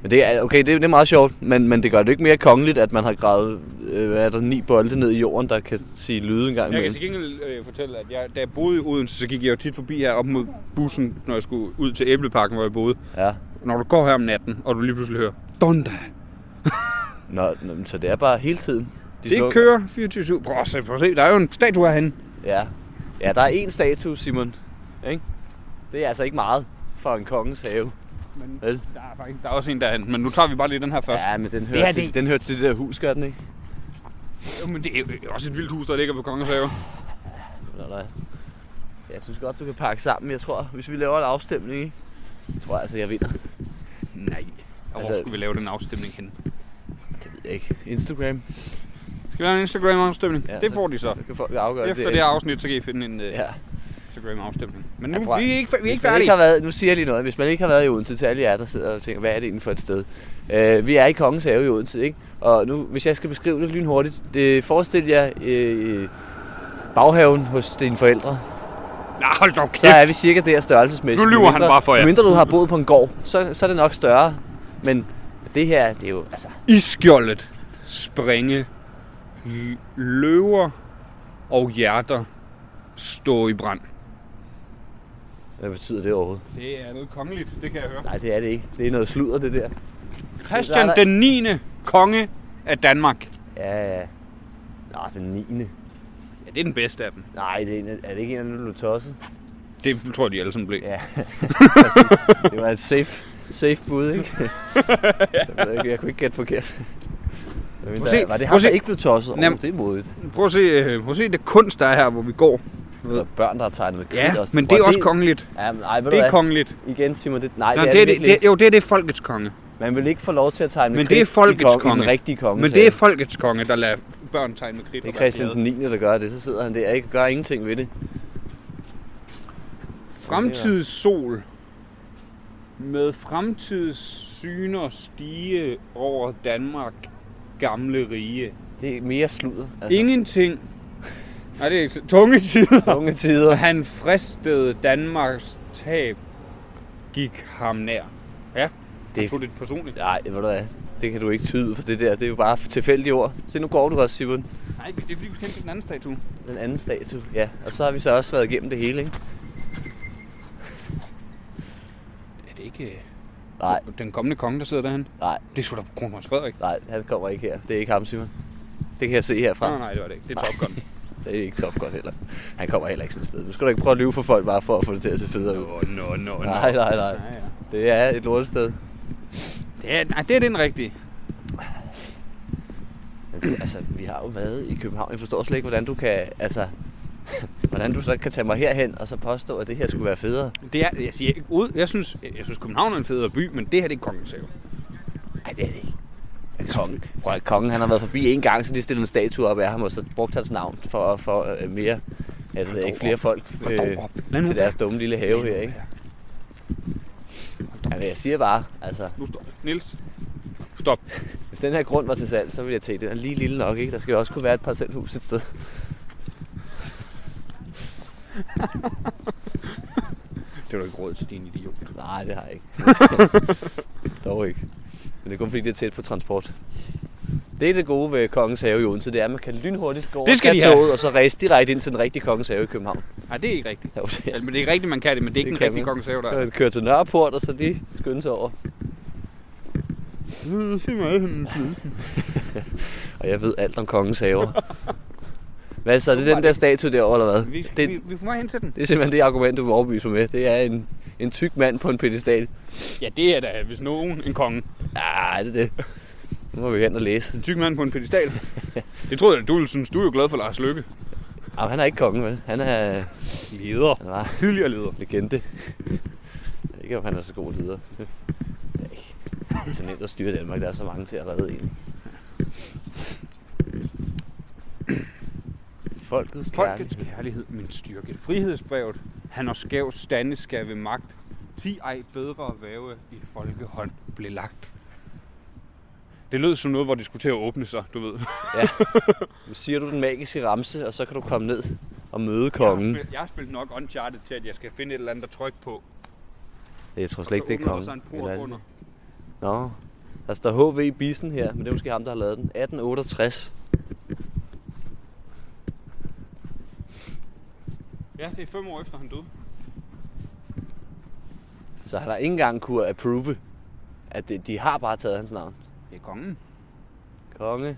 Speaker 4: Men det er, okay, det, er- det er meget sjovt, men, men det gør det ikke mere kongeligt, at man har gravet, øh, hvad er der, ni bolde ned i jorden, der kan sige lyde en gang
Speaker 5: Jeg kan
Speaker 4: imellem.
Speaker 5: til gengæld øh, fortælle, at jeg, da jeg boede i Odense, så gik jeg jo tit forbi her op mod bussen, når jeg skulle ud til Æbleparken, hvor jeg boede.
Speaker 4: Ja.
Speaker 5: Når du går her om natten, og du lige pludselig hører, Donda,
Speaker 4: Nå, nå, men så det er bare hele tiden. De
Speaker 5: det
Speaker 4: slukker.
Speaker 5: kører 24-7. Prøv at se, prøv at se, der er jo en statue herhenne.
Speaker 4: Ja. ja, der er én statue, Simon. Ikke? Det er altså ikke meget for en kongens have.
Speaker 5: Men
Speaker 4: Vel?
Speaker 5: der er, faktisk, der er også en derhen, men nu tager vi bare lige den her først. Ja.
Speaker 4: Ja, men den hører,
Speaker 5: er
Speaker 4: til,
Speaker 5: det.
Speaker 4: den hører til det der hus, gør den ikke?
Speaker 5: Jo, men det er jo også et vildt hus, der ligger på Kongens Have.
Speaker 4: Eller nej. Jeg synes godt, du kan pakke sammen. Jeg tror, hvis vi laver en afstemning, ikke? Jeg tror altså, jeg vinder.
Speaker 5: Nej. Og hvor
Speaker 4: Altså-
Speaker 5: skulle vi lave den afstemning hen?
Speaker 4: Det ved jeg ikke. Instagram.
Speaker 5: Skal vi lave en Instagram-afstemning?
Speaker 4: Ja,
Speaker 5: Ja, det
Speaker 4: så-
Speaker 5: får de så.
Speaker 4: Så kan folk afgøre
Speaker 5: Efter det her afsnit, så kan I finde en øh,
Speaker 4: Ja.
Speaker 5: Instagram-afstemning. Men
Speaker 4: Ja,
Speaker 5: nu,
Speaker 4: prøv at-
Speaker 5: vi er ikke, fa- vi er ikke
Speaker 4: Hvis man
Speaker 5: færdige.
Speaker 4: Ikke har været, nu siger jeg lige noget. Hvis man ikke har været i Odense, til alle jer, der sidder og tænker, hvad er det egentlig for et sted? Øh, vi er i Kongens Have i Odense, ikke? Og nu, hvis jeg skal beskrive det lynhurtigt, det, forestil jer øh, baghaven hos dine forældre.
Speaker 5: Nej, hold da op,
Speaker 4: Så er vi cirka der størrelsesmæssigt.
Speaker 5: Nu lyver han
Speaker 4: Mindre-
Speaker 5: bare for jer.
Speaker 4: Mindre du har boet på en gård, så, så er det nok større. Men det her, det er jo, altså,
Speaker 5: Iskjoldet springe l- løver og hjerter stå i brand.
Speaker 4: hvad betyder det overhovedet?
Speaker 5: Det er noget kongeligt, det kan jeg høre.
Speaker 4: Nej, det er det ikke. Det er noget sludder, det der.
Speaker 5: Christian
Speaker 4: der-
Speaker 5: den 9. konge af Danmark.
Speaker 4: Ja, ja. Nå, den 9.
Speaker 5: Ja, det er den bedste af dem.
Speaker 4: Nej, det er, en af- er det ikke en af dem, du er tosset?
Speaker 5: Det tror jeg, de alle sammen blev.
Speaker 4: Ja, det var et safe, safe bud, ikke? jeg, ved ikke, jeg kunne ikke gætte forkert. Men
Speaker 5: Prøv
Speaker 4: der,
Speaker 5: at se,
Speaker 4: var det
Speaker 5: prøv
Speaker 4: ham,
Speaker 5: at
Speaker 4: der
Speaker 5: se.
Speaker 4: ikke blev tosset? Åh,
Speaker 5: Nem-
Speaker 4: oh, det er modigt.
Speaker 5: Prøv at se, øh, prøv at se det kunst, der er her, hvor vi går.
Speaker 4: Der er børn, der har tegnet med kridt
Speaker 5: Ja,
Speaker 4: også.
Speaker 5: men
Speaker 4: Prøv,
Speaker 5: det er også kongeligt.
Speaker 4: Ja, men, ej, ved
Speaker 5: Det
Speaker 4: du
Speaker 5: er
Speaker 4: hvad?
Speaker 5: kongeligt.
Speaker 4: Igen, Simon, det, nej,
Speaker 5: Nå,
Speaker 4: det, er
Speaker 5: det er det,
Speaker 4: virkelig
Speaker 5: det, jo, det er det folkets konge.
Speaker 4: ikke. Man vil ikke få lov til at tegne med
Speaker 5: Men det
Speaker 4: kridt
Speaker 5: er folkets
Speaker 4: i kong- i
Speaker 5: konge.
Speaker 4: den rigtige konge.
Speaker 5: Men det er folkets konge, der lader børn tegne med kridt.
Speaker 4: det
Speaker 5: og
Speaker 4: er
Speaker 5: være
Speaker 4: Christian
Speaker 5: glade.
Speaker 4: den 9. der gør det. Så sidder han der og ikke gør ingenting ved det.
Speaker 5: Fremtids sol med fremtids syner stige over Danmark gamle rige.
Speaker 4: Det er mere sludder. Altså,
Speaker 5: Ingenting. Nej, det er ikke tunge tider.
Speaker 4: Tunge tider.
Speaker 5: Han fristede Danmarks tab, gik ham nær. Ja, det
Speaker 4: Det-
Speaker 5: tog det personligt.
Speaker 4: Nej, ved du hvad? Det kan du ikke tyde for det der. Det er jo bare tilfældige ord. Se, nu går du også, Simon.
Speaker 5: Nej, det er fordi, vi skal hen til den anden statue.
Speaker 4: Den anden statue, ja. Og så har vi så også været igennem det hele, ikke?
Speaker 5: Er det ikke
Speaker 4: Nej,
Speaker 5: den kommende konge, der sidder derhen?
Speaker 4: nej,
Speaker 5: Det er sgu da kronprins Frederik.
Speaker 4: nej. Han kommer ikke her. Det er ikke ham, Simon. Det kan jeg se herfra.
Speaker 1: Mm.
Speaker 5: Nej, nej, det var det ikke. Det er Top Gun.
Speaker 4: Det er ikke top godt heller. Han kommer heller ikke sådan et sted. Nu skal du ikke prøve at lyve for folk, bare for at få det til at se federe ud.
Speaker 5: Nå, nå, nå, nå.
Speaker 4: Nej, nej, nej.
Speaker 5: Ja, ja.
Speaker 4: Det er et lortested.
Speaker 5: Det er, nej, det er den rigtige.
Speaker 4: Men det- Altså, vi har jo været i København. Jeg forstår slet ikke, hvordan du kan, altså... Hvordan du så kan tage mig herhen og så påstå, at det her skulle være federe.
Speaker 5: Det er, jeg, siger, ikke ud. jeg, synes, jeg synes, København er en federe by, men det her det er kongens have.
Speaker 4: Nej, det er det ikke. Kongen, prøv, at- kongen han har været forbi en gang, så de stillede en statue op af ham, og så brugte hans navn for at få øh, mere, ja, det ved jeg ikke, flere folk
Speaker 5: Hold dog op. Lad
Speaker 4: øh,
Speaker 5: nu
Speaker 4: til
Speaker 5: være.
Speaker 4: deres dumme lille have her, ikke? Altså, jeg siger bare, altså,
Speaker 5: Nu stop. Niels. Stop.
Speaker 4: hvis den her grund var til salg, så ville jeg tænke, den er lige lille nok, ikke? Der skal jo også kunne være et parcelhus et sted.
Speaker 5: Det var da ikke råd til din idiot.
Speaker 4: Nej, det har jeg ikke. Dog ikke. Men det er kun fordi, det er tæt på transport. Det er det gode ved Kongens Have i Odense, det er, at man kan lynhurtigt gå over
Speaker 5: Det skal de have.
Speaker 4: toget, og så ræse direkte ind til den rigtige Kongens Have i København.
Speaker 5: Nej, det er ikke rigtigt.
Speaker 4: Jo, det er-
Speaker 5: Altså, men det er rigtigt, man kan det, men det er ikke
Speaker 4: Det
Speaker 5: det en
Speaker 4: kan
Speaker 5: rigtig
Speaker 4: man.
Speaker 5: kongens have, der
Speaker 4: Så
Speaker 5: er.
Speaker 4: han kører til Nørreport, og så de skynder sig over. Og jeg ved alt om kongens haver. Hvad så, er det den der statue derovre, eller hvad?
Speaker 5: Vi,
Speaker 4: Det-
Speaker 5: det... vi, vi kommer hen til den.
Speaker 4: Det er simpelthen det argument, du vil overbevise mig med. Det er en, en tyk mand på en pedestal.
Speaker 5: Ja, det er da, hvis nogen, en konge.
Speaker 4: Ah, er det det? Nu må vi hen og læse.
Speaker 5: En tyk mand på en pedestal. det troede jeg, du ville synes. Du er jo glad for Lars Lykke.
Speaker 4: Ah, han er ikke kongen, vel? Han er... Leder. Han var
Speaker 5: Tidligere leder.
Speaker 4: legende. Jeg ved ikke, om han er så god leder. Det ved jeg ikke. Det er så nemt at styre Danmark. Der er så mange til at redde en. Folkets kærlighed.
Speaker 5: Folkets kærlighed, min styrke. Frihedsbrevet. Han og skæv stande skal ved magt. Ti ej bedre væve i folkehånd blev lagt. Det lød som noget, hvor det skulle til at åbne sig, du ved.
Speaker 4: Nu siger du den magiske ramse, og så kan du komme ned og møde kongen.
Speaker 5: Jeg har spillet, jeg har spillet nok Uncharted til, at jeg skal finde et eller andet at trykke på.
Speaker 4: Jeg tror slet ikke, det er
Speaker 5: Så åbner der sig en
Speaker 4: kongen.
Speaker 5: port
Speaker 4: Eller er det-
Speaker 5: under.
Speaker 4: Nå, Altså, der står HV i bissen her, men det er måske ham, der har lavet den. 1868.
Speaker 5: Ja, det er fem år efter, han døde.
Speaker 4: Så han har ikke engang kunne approve, at det, de har bare taget hans navn.
Speaker 5: Det er kongen.
Speaker 4: Konge.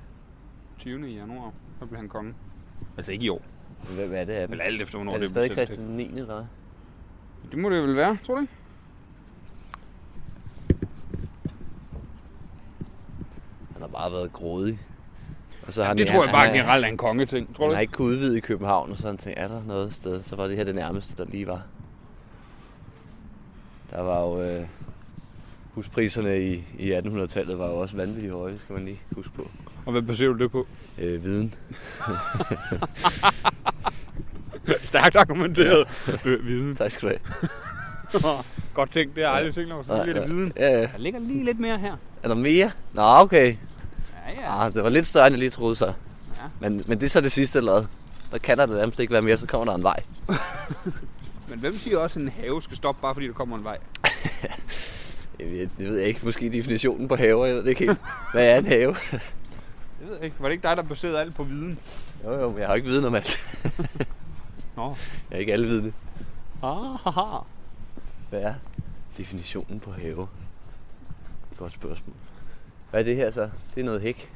Speaker 5: 20. januar, så blev han konge. Altså ikke i år.
Speaker 4: Hvem er det her?
Speaker 5: Eller alt efter, hvornår
Speaker 4: er det
Speaker 5: blev
Speaker 4: stadig
Speaker 5: sendt til.
Speaker 4: Christian 9. eller hvad?
Speaker 5: Det må det vel være, tror du ikke?
Speaker 4: Han har bare været grådig. Og så har
Speaker 5: Ja,
Speaker 4: han,
Speaker 5: det tror jeg bare
Speaker 4: han, han,
Speaker 5: generelt er en kongeting, tror
Speaker 4: han
Speaker 5: du
Speaker 4: har
Speaker 5: ikke?
Speaker 4: ikke kunnet udvide i København, og så han tænkte, er der noget sted? Så var det her det nærmeste, der lige var. Der var jo... Øh, huspriserne i, i 1800-tallet var jo også vanvittigt høje, skal man lige huske på.
Speaker 5: Og hvad baserer du det på?
Speaker 4: Øh, viden.
Speaker 5: Stærkt argumenteret øh, viden.
Speaker 4: Tak skal du have.
Speaker 5: Godt tænkt, det har jeg aldrig tænkt over, så
Speaker 4: Nej,
Speaker 5: bliver det
Speaker 4: ja.
Speaker 5: viden.
Speaker 4: Ja, ja.
Speaker 5: Der ligger lige lidt mere her.
Speaker 4: Er der mere? Nå, okay.
Speaker 5: Ja, ja.
Speaker 4: Ah, det var lidt større, end jeg lige troede så.
Speaker 5: Ja.
Speaker 4: Men, men det er så det sidste, eller hvad? Der kan der nærmest ikke være mere, så kommer der en vej.
Speaker 5: Men hvem siger også, at en have skal stoppe, bare fordi der kommer en vej?
Speaker 4: Jamen, jeg- Det ved jeg ikke. Måske definitionen på haver, jeg ved det ikke helt. Hvad er en have?
Speaker 5: Jeg ved ikke. Var det ikke dig, der baserede alt på viden?
Speaker 4: Jo, jo, men jeg har jo ikke viden om alt.
Speaker 5: Nå.
Speaker 4: Jeg er ikke alle vidne.
Speaker 5: Ah, haha.
Speaker 4: Hvad er definitionen på have? Godt spørgsmål. Hvad er det her så? Det er noget hæk.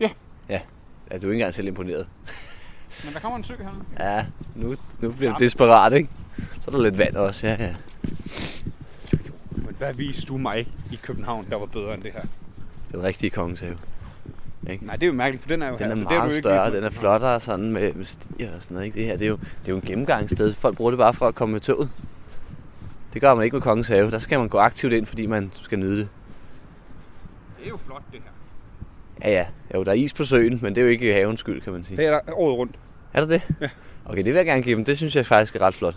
Speaker 5: Ja.
Speaker 4: Ja. Ja, du er ikke engang selv imponeret.
Speaker 5: Men der kommer en sø her.
Speaker 4: Ja, nu, nu bliver det desperat, ikke? Så er der lidt vand også, ja, ja.
Speaker 5: Men hvad viste du mig i København, der var bedre end det her?
Speaker 4: Den rigtige kongeshave.
Speaker 5: Nej, det er jo mærkeligt, for den er jo
Speaker 4: Den er
Speaker 5: her. så det har du
Speaker 4: meget
Speaker 5: jo ikke
Speaker 4: større,
Speaker 5: lige-
Speaker 4: den er flottere sådan med, med stier og sådan noget. Ikke? Det her, det er, jo, det er jo en gennemgangssted. Folk bruger det bare for at komme med toget. Det gør man ikke med Kongens Have. Der skal man gå aktivt ind, fordi man skal nyde det.
Speaker 5: Det er jo flot, det her.
Speaker 4: Ja, ja. Jo, der er is på søen, men det er jo ikke havens skyld, kan man sige.
Speaker 5: Det er der året rundt.
Speaker 4: Er der det? Ja. Okay, det vil jeg gerne give dem. Det synes jeg faktisk er ret flot.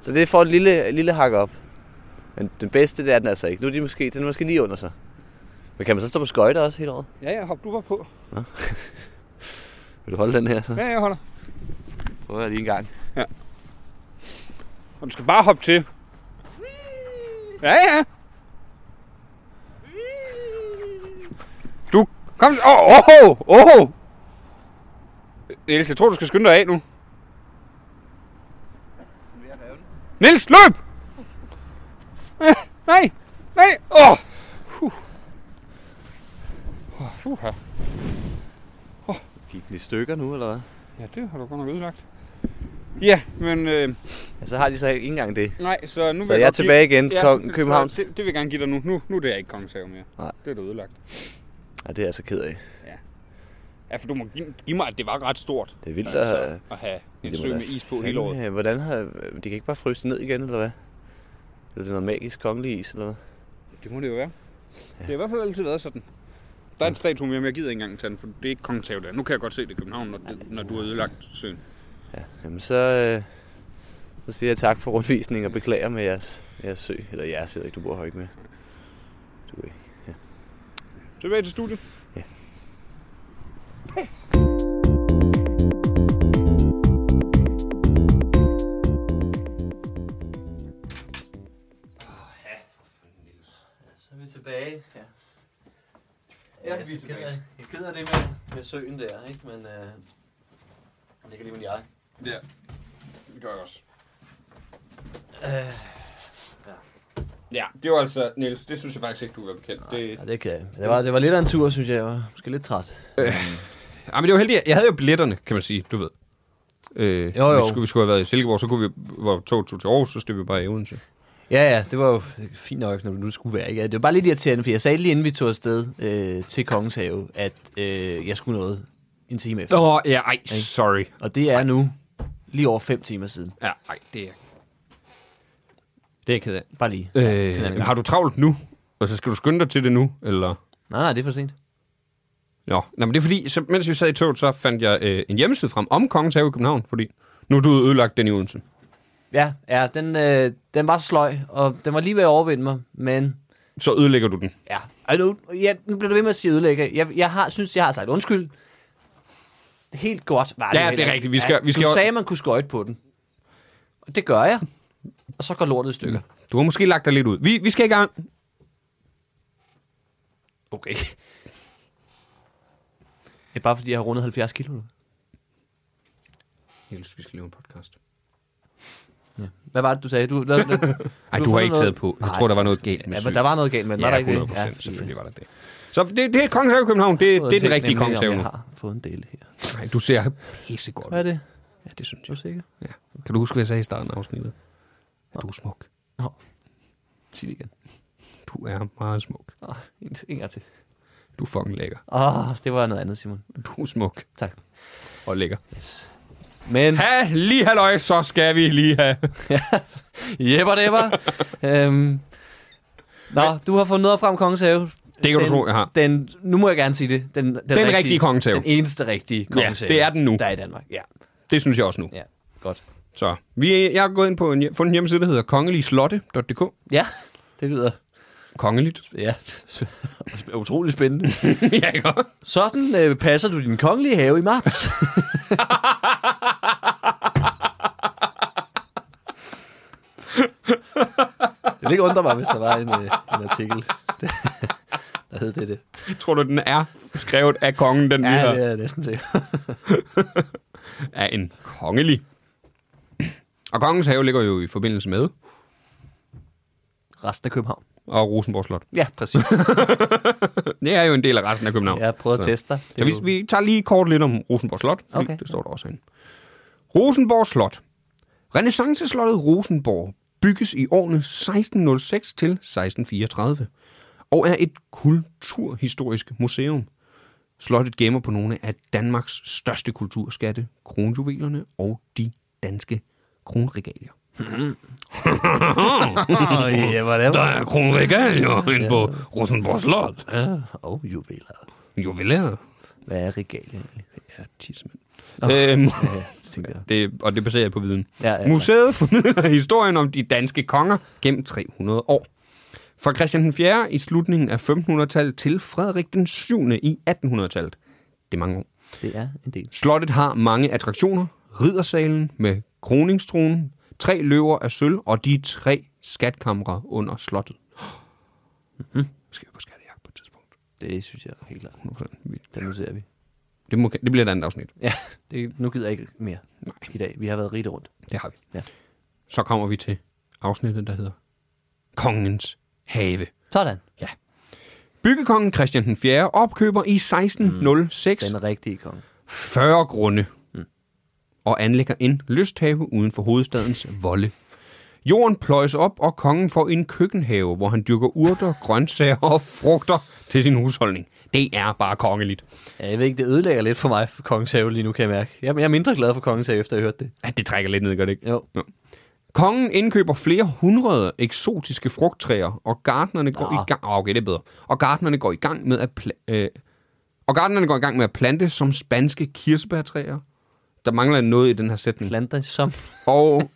Speaker 4: Så det får et lille, et lille hak op. Men den bedste, det er den altså ikke. Nu er de måske, den er måske lige under sig. Men kan man så stå på skøjter også hele året?
Speaker 5: Ja, ja, hop du var på.
Speaker 4: Vil du holde den her så?
Speaker 5: Ja, jeg holder.
Speaker 4: Prøv at lige en gang.
Speaker 5: Og du skal bare hoppe til. Ja, ja. Du, kom så. Åh, oh, åh, oh, åh. Oh. Niels, jeg tror, du skal skynde dig af nu. Niels, løb! Ah, Nej, nej, åh! Oh. Uh. Uh, uh.
Speaker 4: Gik den i stykker nu, eller hvad?
Speaker 5: Ja, det har du godt nok ødelagt. Ja, men øh,
Speaker 4: Ja, så har de så ikke engang det.
Speaker 5: nej, så nu vil
Speaker 4: Så jeg er
Speaker 5: godt give-
Speaker 4: tilbage igen, ja, kongen København.
Speaker 5: så Det, det vil jeg gerne give dig nu. Nu, nu er det ikke kongens have mere.
Speaker 4: Nej.
Speaker 5: Det er du ødelagt.
Speaker 4: Ja, det er jeg så ked af.
Speaker 5: Ja, for du må give, give mig, at det var ret stort.
Speaker 4: Det er vildt at
Speaker 5: altså,
Speaker 4: have...
Speaker 5: at have
Speaker 4: det
Speaker 5: en
Speaker 4: må
Speaker 5: sø
Speaker 4: da
Speaker 5: med is på hele
Speaker 4: fandme
Speaker 5: året.
Speaker 4: have- Hvordan har... De kan ikke bare fryse ned igen, eller hvad? Eller det er noget magisk kongelig is, eller hvad?
Speaker 5: Det må det jo være. Det har i hvert fald altid været sådan. Der er en statue mere, men jeg gider ikke engang tage den, for det er ikke kongens have der. Nu kan jeg godt se det i København, når, det, når du har ødelagt søen.
Speaker 4: Ja, jamen så... Øh, så siger jeg tak for rundvisningen og beklager med jeres, jeres sø. Eller jeres, jeg ved ikke, du bor her ikke med. Du er ikke.
Speaker 5: Tilbage til studiet.
Speaker 4: Så er vi tilbage. Ja,
Speaker 6: Ja, vi er tilbage.
Speaker 4: Jeg keder det med, med søen der, ikke? Men øh, det kan lige min jakke.
Speaker 5: Ja, det gør jeg også. Øh, Ja, det var altså, Niels, det synes jeg faktisk ikke, du var bekendt. Det...
Speaker 4: Ja, det kan jeg. Det var, det var lidt af en tur, synes jeg. Jeg var måske lidt træt.
Speaker 5: Ja, men det var heldigt. Jeg havde jo billetterne, kan man sige, du ved. Øh,
Speaker 4: Jo, jo.
Speaker 5: Vi, skulle, vi skulle have været i Silkeborg, så kunne vi, hvor toget tog til Aarhus, så stod vi bare i Odense.
Speaker 4: Ja, ja, det var jo fint nok, når du nu skulle være. Ikke? Det var bare lidt irriterende, for jeg sagde lige inden vi tog afsted øh, til Kongens Have, at øh, jeg skulle noget en time efter.
Speaker 5: Åh, oh, ja, ej, sorry.
Speaker 4: Og det er nu lige over fem timer siden.
Speaker 5: Ja, ej, det er... Det er jeg ked af.
Speaker 4: Bare lige.
Speaker 5: Øh,
Speaker 4: til en anden
Speaker 5: men
Speaker 4: gang.
Speaker 5: har du travlt nu? Og så skal du skynde dig til det nu, eller...
Speaker 4: Nej, nej, det er for sent.
Speaker 5: Nå, Nå men det er fordi, så, mens vi sad i toget, så fandt jeg øh, en hjemmeside frem om Kongens Have i København, fordi nu er du ødelagt den i Odense.
Speaker 4: Ja, ja den, øh, den var så sløj, og den var lige ved at overvinde mig, men
Speaker 5: Så ødelægger du den.
Speaker 4: ja. Ej, nu, ja, nu bliver du ved med at sige ødelægge. Jeg, jeg har, synes, jeg har sagt undskyld. Helt godt var det.
Speaker 5: Ja, det er
Speaker 4: heller ikke.
Speaker 5: rigtigt. Vi skal- vi skal
Speaker 4: du
Speaker 5: jo-
Speaker 4: sagde, man kunne skøjte på den. Og det gør jeg. Og så går lortet i stykker.
Speaker 5: Du har måske lagt dig lidt ud. Vi, vi skal i gang.
Speaker 4: Okay. Det er bare fordi, jeg har rundet 70 kilo nu.
Speaker 5: Niels, vi skal lave en podcast.
Speaker 4: Hvad var det, du sagde? Du, hvad, du,
Speaker 5: Ej, du, har ikke taget på. Jeg
Speaker 4: Nej,
Speaker 5: tror, der var noget galt med
Speaker 4: ja,
Speaker 5: syg.
Speaker 4: men der var noget galt med den, var
Speaker 5: ja,
Speaker 4: der ikke
Speaker 5: 100
Speaker 4: det?
Speaker 5: procent. selvfølgelig var der det. Så det, det er Kongens Have i København. Det, det er den rigtige Kongens Have nu.
Speaker 4: Jeg har fået en del her.
Speaker 5: Nej, du ser pissegodt
Speaker 4: Hvad
Speaker 5: ud.
Speaker 4: er det?
Speaker 5: Ja, det synes
Speaker 4: Er
Speaker 5: jeg.
Speaker 4: du sikker?
Speaker 5: Ja. Kan du huske, hvad jeg sagde i starten af afsnittet? Du er smuk.
Speaker 4: Nå. Sig det igen.
Speaker 5: Du er meget smuk.
Speaker 4: Nå, en, en gang til.
Speaker 5: Du er fucking lækker.
Speaker 4: Åh, oh, det var noget andet, Simon.
Speaker 5: Du er smuk
Speaker 4: Tak.
Speaker 5: og lækker.
Speaker 4: Yes. Men,
Speaker 5: Ha, lige halløj, så skal vi lige have.
Speaker 4: jebber debber. øhm, nå, du har fundet noget frem Kongens Have.
Speaker 5: Det kan du
Speaker 4: den,
Speaker 5: tro, jeg har.
Speaker 4: Den, nu må jeg gerne sige det. Den, den, den
Speaker 5: rigtige Kongens Have.
Speaker 4: Den eneste rigtige Kongens Have,
Speaker 5: det er den nu.
Speaker 4: Der er i Danmark, ja.
Speaker 5: Det synes jeg også nu.
Speaker 4: Ja, godt.
Speaker 5: Så vi, jeg har gået ind på en, hjem- fundet en hjemmeside, der hedder kongeligslotte.dk.
Speaker 4: Ja, det lyder
Speaker 5: Kongeligt.
Speaker 4: ja, utrolig spændende.
Speaker 5: ja, ikke også?
Speaker 4: Sådan øh, passer du din kongelige have i marts. det ville ikke undre mig, hvis der var en, øh, en artikel, der hed det. det.
Speaker 5: Tror du, den er skrevet af kongen, den vi
Speaker 4: Ja,
Speaker 5: har?
Speaker 4: det er jeg næsten til.
Speaker 5: af en kongelig. Og Kongens Have ligger jo i forbindelse med,
Speaker 4: Resten af København.
Speaker 5: og Rosenborg Slot.
Speaker 4: Ja, præcis.
Speaker 5: Det er jo en del af resten af København.
Speaker 4: Jeg har prøvet at
Speaker 5: Så-
Speaker 4: teste dig. Det
Speaker 5: Så
Speaker 4: er
Speaker 5: vi,
Speaker 4: jo-
Speaker 5: vi tager lige kort lidt om Rosenborg Slot. fordi
Speaker 4: Okay.
Speaker 5: Det står der også herinde. Rosenborg Slot. Renaissanceslottet Rosenborg bygges i årene 1606 til 1634 og er et kulturhistorisk museum. Slottet gemmer på nogle af Danmarks største kulturskatte, kronjuvelerne og de danske kronregalier.
Speaker 4: Åh, ja, hvordan?
Speaker 5: Der er kronregalier inde på Rosenborg Slot.
Speaker 4: Åh, oh, juveler.
Speaker 5: Juvelæret.
Speaker 4: Hvad er regal egentlig?
Speaker 5: Ja, tissemænd. Øhm,
Speaker 4: Ja, tænker jeg.
Speaker 5: det, og det baserer jeg på viden.
Speaker 4: Ja, ja, ja.
Speaker 5: Museet formidler historien om de danske konger gennem 300 år. Fra Christian den 4. i slutningen af 1500-tallet til Frederik den 7. i 1800-tallet. Det er mange år.
Speaker 4: Det er en del.
Speaker 5: Slottet har mange attraktioner. Riddersalen med kroningstronen, tre løver af sølv og de tre skatkamre under slottet. Mm-hmm. Skal vi på skattejagt på et tidspunkt?
Speaker 4: Det synes jeg helt klart.
Speaker 5: 100% vildt.
Speaker 4: Det noterer vi.
Speaker 5: Det, må, det bliver et andet afsnit.
Speaker 4: Ja, det, nu gider jeg ikke mere i dag. Vi har været rigtig rundt.
Speaker 5: Det har vi.
Speaker 4: Ja.
Speaker 5: Så kommer vi til afsnittet, der hedder Kongens Have.
Speaker 4: Sådan.
Speaker 5: Byggekongen Christian den 4. opkøber i 1606
Speaker 4: Den rigtige konge.
Speaker 5: 40 grunde og anlægger en lysthave uden for hovedstadens volde. Jorden pløjes op, og kongen får en køkkenhave, hvor han dyrker urter, grøntsager og frugter til sin husholdning. Det er bare kongeligt.
Speaker 4: Ja, jeg ved ikke, det ødelægger lidt for mig for Kongens Have lige nu, kan jeg mærke. Jeg, jeg er mindre glad for Kongens Have, efter jeg hørte det.
Speaker 5: Ja, det trækker lidt ned, gør det ikke?
Speaker 4: Jo.
Speaker 5: Kongen indkøber flere hundrede eksotiske frugttræer, og gartnerne går
Speaker 4: Nå.
Speaker 5: i gang. Oh, okay, det er bedre. Og gartnerne går i gang med at pla- øh, og gartnerne går i gang med at plante som spanske kirsebærtræer. Der mangler noget i den her sætning.
Speaker 4: Planter som...
Speaker 5: Og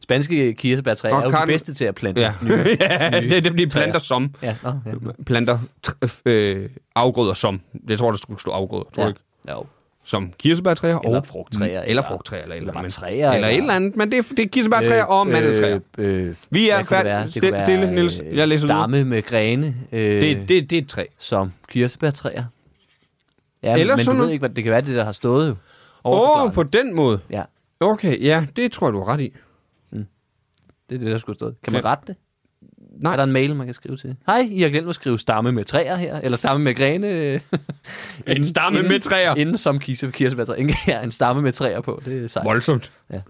Speaker 4: Spanske kirsebærtræer
Speaker 5: Og
Speaker 4: er jo
Speaker 5: Karen-
Speaker 4: de bedste til at plante.
Speaker 5: ja, ja det, det bliver planter som
Speaker 4: Ja, nå, ja.
Speaker 5: planter tr- øh, afgrøder som. Jeg tror der skulle stå afgrøder, tror ja.
Speaker 4: ja.
Speaker 5: ikke?
Speaker 4: Jo.
Speaker 5: Som kirsebærtræer
Speaker 4: Eller
Speaker 5: og
Speaker 4: frugttræer,
Speaker 5: eller
Speaker 4: eller-
Speaker 5: frugttræer eller, et
Speaker 4: eller bare
Speaker 5: andet.
Speaker 4: træer,
Speaker 5: eller, et
Speaker 4: eller-
Speaker 5: eller andet, men det er, det er kirsebærtræer øh, og mandeltræer.
Speaker 4: Øh, øh,
Speaker 5: Vi er
Speaker 4: hvad kunne det være?
Speaker 5: færdige.
Speaker 4: Det kunne
Speaker 5: Stil,
Speaker 4: være,
Speaker 5: stille, Niels.
Speaker 4: øh,
Speaker 5: Jeg læser videre.
Speaker 4: Stamme med grene øh,
Speaker 5: Det, det, det er et træ.
Speaker 4: som kirsebærtræer. Ja,
Speaker 5: Eller
Speaker 4: Eller men
Speaker 5: sådan
Speaker 4: du ved
Speaker 5: noget.
Speaker 4: ikke, hvad det kan være, det der har stået jo.
Speaker 5: Åh, oh,
Speaker 4: på...
Speaker 5: på den måde.
Speaker 4: Ja,
Speaker 5: Okay, ja, det tror jeg, du har ret i.
Speaker 4: det er det, der skulle stå. Kan man
Speaker 5: Ja.
Speaker 4: rette det?
Speaker 5: Nej.
Speaker 4: Er der en mail, man kan skrive til? Hej, I har glemt at skrive stamme med træer her, eller stamme med grene. øh, inden-
Speaker 5: stamme
Speaker 4: inden-
Speaker 5: med træer.
Speaker 4: Inden som kise, kirsebærtræ. Ingen her, en stamme med træer på. Det er sejt.
Speaker 5: Voldsomt.
Speaker 4: Jeg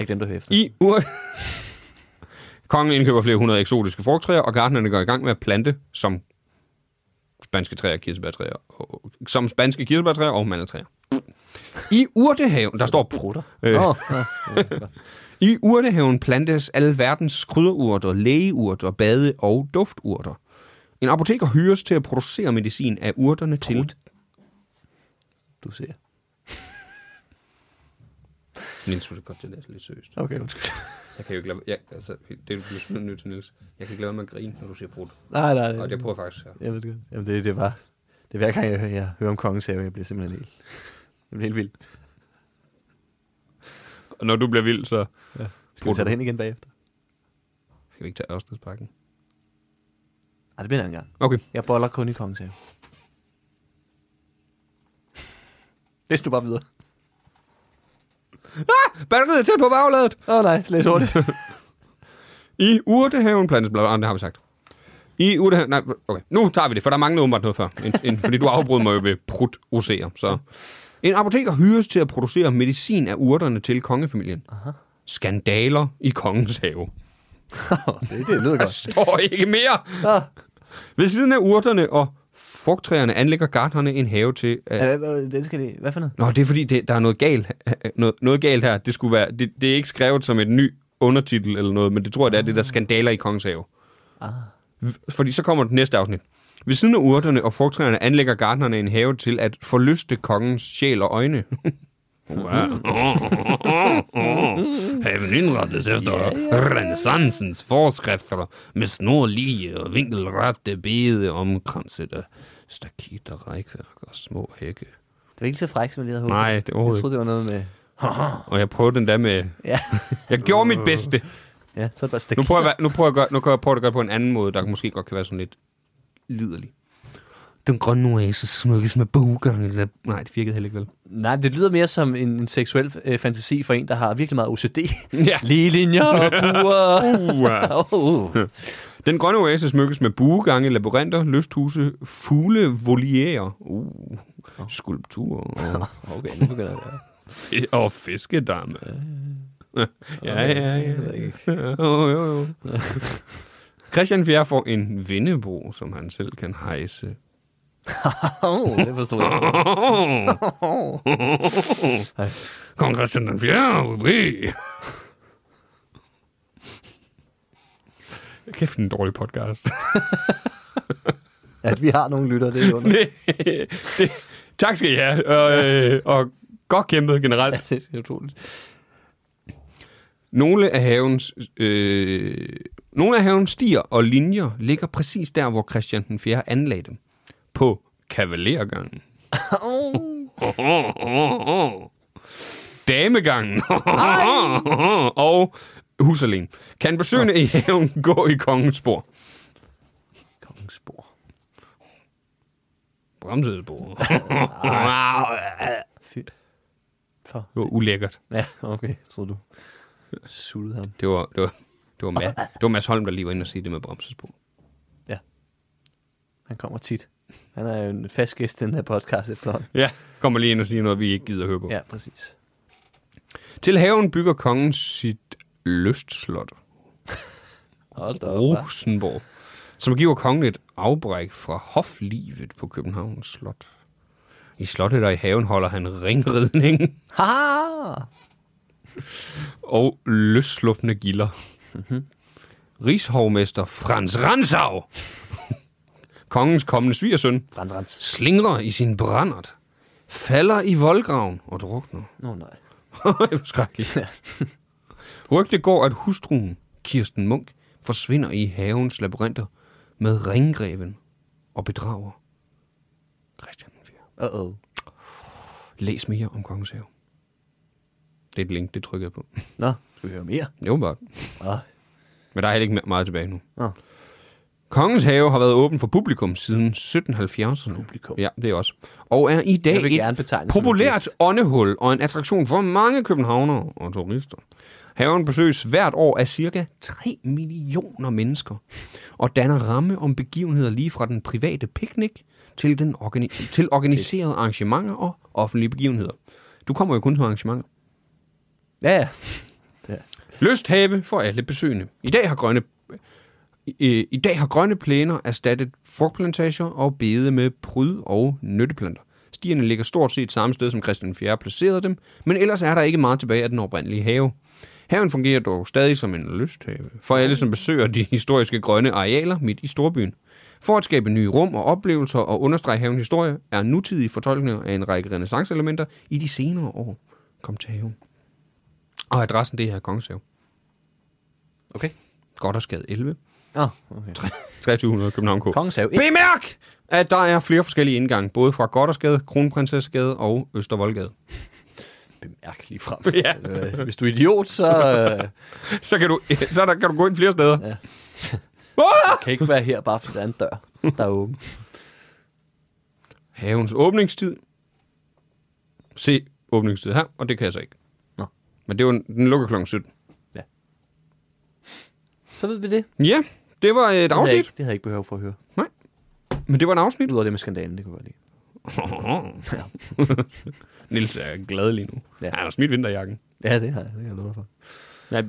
Speaker 4: glemte at høre efter.
Speaker 5: I ur... Kongen indkøber flere hundrede eksotiske frugttræer, og gartnerne går i gang med at plante som spanske træer, kirsebærtræer, og, som spanske kirsebærtræer og mandeltræer. I urtehaven, der står prutter. Øh,
Speaker 4: Åh,
Speaker 5: I urtehaven plantes alle verdens krydderurter, lægeurter, bade- og dufturter. En apoteker hyres til at producere medicin af urterne til...
Speaker 4: du ser.
Speaker 5: Niels, vil du godt til at læse lidt seriøst?
Speaker 4: Okay, undskyld.
Speaker 5: Jeg kan jo ikke lade... Jeg, altså, det er du simpelthen nødt til, Niels. Jeg kan ikke lade være med at grine, når du siger brudt.
Speaker 4: Nej, nej.
Speaker 5: Og det prøver jeg faktisk her.
Speaker 4: Jeg ved det godt. Jamen, det, det er bare... Det er hver gang, jeg hører, jeg hører om kongens have, jeg bliver simpelthen helt... Jeg bliver helt vild.
Speaker 5: Og når du bliver vild, så...
Speaker 4: Skal vi tage dig hen igen bagefter?
Speaker 5: Skal vi ikke tage Ørstedsparken?
Speaker 4: Nej, det bliver en anden gang.
Speaker 5: Okay.
Speaker 4: Jeg boller kun i kongens have. Læs du bare videre.
Speaker 5: Batteriet er tæt på bagladet!
Speaker 4: Åh oh, nej, læs hurtigt.
Speaker 5: I urtehaven plantes bla, bla, det har vi sagt. I urtehaven... Nej, okay. Nu tager vi det, for der manglede åbenbart noget før. En, en, fordi du afbrød mig jo ved prut oser, så... En apoteker hyres til at producere medicin af urterne til kongefamilien. Aha. Skandaler i kongens have.
Speaker 4: det, det lyder
Speaker 5: Der står ikke mere! Ved siden af urterne og frugttræerne anlægger gartnerne en have til... At...
Speaker 4: Ja, hvad- hvad- det skal det... Hvad for noget?
Speaker 5: Nå, det er fordi, det, der er noget galt, noget, noget galt her. Det, skulle være, det, det er ikke skrevet som et ny undertitel eller noget, men det tror jeg, det er det der skandaler i Kongens Have. Ah. Fordi så kommer det næste afsnit. Ved siden af urterne og frugttræerne anlægger gartnerne en have til at forlyste kongens sjæl og øjne. Haven indrettes efter renaissancens forskrifter med snorlige og vinkelrette bede omkranset af stakit og rækværk og små hække.
Speaker 4: Det var ikke så fræk, som jeg lige havde håbet.
Speaker 5: Nej, det er
Speaker 4: Jeg
Speaker 5: overhovedet
Speaker 4: troede, det var noget med...
Speaker 5: og jeg prøvede den der med...
Speaker 4: Ja,
Speaker 5: Jeg gjorde mit bedste.
Speaker 4: ja så er det bare stik.
Speaker 5: Nu prøver jeg, at være- nu prøver jeg, at gøre, nu kan jeg prøve at gøre det på en anden måde, der måske godt kan være sådan lidt liderlig. Den grønne oase smukkes med buegang. Eller... Nej, det virkede heller ikke vel.
Speaker 4: Nej, det lyder mere som en, en seksuel øh, fantasi for en, der har virkelig meget OCD.
Speaker 5: Ja.
Speaker 4: Lige linjer og buer. Uh.
Speaker 5: Den grønne oase smykkes med buegange, labyrinter, lysthuse, fugle, voliere, uh, skulpturer og,
Speaker 4: Okay, nu begynder det.
Speaker 5: og fiskedamme. Ja, ja, ja.
Speaker 4: ved jeg ikke.
Speaker 5: Jo, jo, jo. Christian Fjerre får en vindebro, som han selv kan hejse.
Speaker 4: Oh, det forstod jeg.
Speaker 5: Kong Christian den 4. Ubi. Kæft en dårlig podcast.
Speaker 4: At vi har nogle lytter, det er under.
Speaker 5: det, tak skal I have, og, øh, og godt kæmpet generelt.
Speaker 4: det er utroligt.
Speaker 5: Nogle af havens, øh, nogle af havens stier og linjer ligger præcis der, hvor Christian den 4. anlagde dem. På kavalergangen. Damegangen. og Husserling. Kan besøgende i haven gå i kongens spor?
Speaker 4: Kongens spor.
Speaker 5: Bremsede spor.
Speaker 4: Fy. For.
Speaker 5: det var ulækkert.
Speaker 4: Ja, okay, tror du. Suttede ham.
Speaker 5: Det var, det var, det var, Ma- det var Mads Holm, der lige var inde og sige det med bremsespor.
Speaker 4: Han kommer tit. Han er jo en fast gæst i den her podcast efterhånden.
Speaker 5: Ja, kommer lige ind og siger noget, vi ikke gider høre på.
Speaker 4: Ja, præcis.
Speaker 5: Til haven bygger kongen sit lystslot,
Speaker 4: Hold da op. hva'?
Speaker 5: Rosenborg, som giver kongen et afbræk fra hoflivet på Københavns Slot. I slottet og i haven holder han ringridning
Speaker 4: Haha!
Speaker 5: og løsslupne gilder. Rigshovmester Frans Ransau, kongens kommende svigersøn,
Speaker 4: Frans Rans.
Speaker 5: slingrer i sin brændert, falder i voldgraven og drukner.
Speaker 4: Nå oh, nej.
Speaker 5: det var skrækkeligt. Rygte går, at hustruen, Kirsten Munk, forsvinder i havens labyrinter med ringgreven og bedrager. Christian den fjerde.
Speaker 4: Uh-oh.
Speaker 5: Læs mere om Kongens Have. Det er et link, det trykker jeg på.
Speaker 4: Nå, skal vi høre mere?
Speaker 5: Jo, bare.
Speaker 4: Nå.
Speaker 5: Men der er heller ikke me- meget tilbage nu.
Speaker 4: Nå.
Speaker 5: Kongens Have har været åben for publikum siden 1770'erne.
Speaker 4: Publikum.
Speaker 5: Ja, det er også. Og er i dag
Speaker 4: Jeg vil
Speaker 5: et
Speaker 4: gerne betegne som en
Speaker 5: populært
Speaker 4: gæst.
Speaker 5: åndehul og en attraktion for mange københavnere og turister. Haven besøges hvert år af cirka 3 millioner mennesker og danner ramme om begivenheder lige fra den private picnic til, den organi- til organiserede arrangementer og offentlige begivenheder. Du kommer jo kun til arrangementer.
Speaker 4: Ja, ja.
Speaker 5: Lysthave for alle besøgende. I dag har grønne i, i dag har grønne plæner erstattet frugtplantager og bede med pryd og nytteplanter. Stierne ligger stort set samme sted, som Christian 4. placerede dem, men ellers er der ikke meget tilbage af den oprindelige have. Haven fungerer dog stadig som en lysthave for alle, som besøger de historiske grønne arealer midt i storbyen. For at skabe nye rum og oplevelser og understrege havens historie, er nutidige fortolkninger af en række renaissanceelementer i de senere år. Kom til haven. Og adressen det er her Kongshave. Okay. Godt og skade 11.
Speaker 4: Nå, okay.
Speaker 5: 2300 København K.
Speaker 4: Kongens Have.
Speaker 5: Bemærk, at der er flere forskellige indgange, både fra Goddersgade, Kronprinsessegade og Østervoldgade.
Speaker 4: Bemærk lige frem. ja. øh, hvis du er idiot, så øh,
Speaker 5: Så kan du, så der, kan du gå ind flere steder.
Speaker 4: Ja.
Speaker 5: Ja.
Speaker 4: kan ikke være her, bare fordi der er en dør, der er åben.
Speaker 5: Havens åbningstid. Se åbningstid her, og det kan jeg så ikke.
Speaker 4: Nå.
Speaker 5: Men det var, den lukker klokken 17.
Speaker 4: Så ved vi det.
Speaker 5: Ja, det var et
Speaker 4: Det havde, jeg ikke,
Speaker 5: afsnit.
Speaker 4: det havde jeg ikke behov for at høre.
Speaker 5: Men det var et afsnit.
Speaker 4: Ud af det med skandalen, det kunne jeg godt lide.
Speaker 5: Nils er glad lige nu.
Speaker 4: Ja.
Speaker 5: Ja. Han har smidt vinterjakken.
Speaker 4: Ja, det har jeg. Det kan jeg love dig for.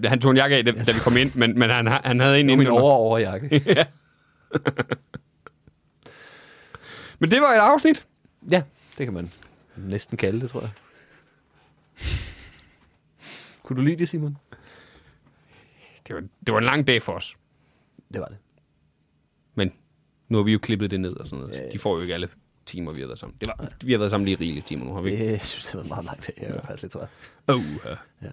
Speaker 5: Ja, han tog en jakke af, da, da vi kom ind, men, men han, har- han havde en
Speaker 4: Det er min
Speaker 5: inden.
Speaker 4: over overjakke.
Speaker 5: Men det var et afsnit.
Speaker 4: ja, det kan man næsten kalde det, tror jeg. Kunne du lide det, Simon?
Speaker 5: Det var, det var en lang dag for os.
Speaker 4: Det var det.
Speaker 5: Men nu har vi jo klippet det ned og sådan noget. Ja, De får jo ikke alle timer, vi har været sammen. Det var, vi har været sammen lige rigelige timer nu, har vi ikke?
Speaker 4: Det, jeg synes, det var meget langt af. Jeg var faktisk lidt træt.
Speaker 5: Oh, uh.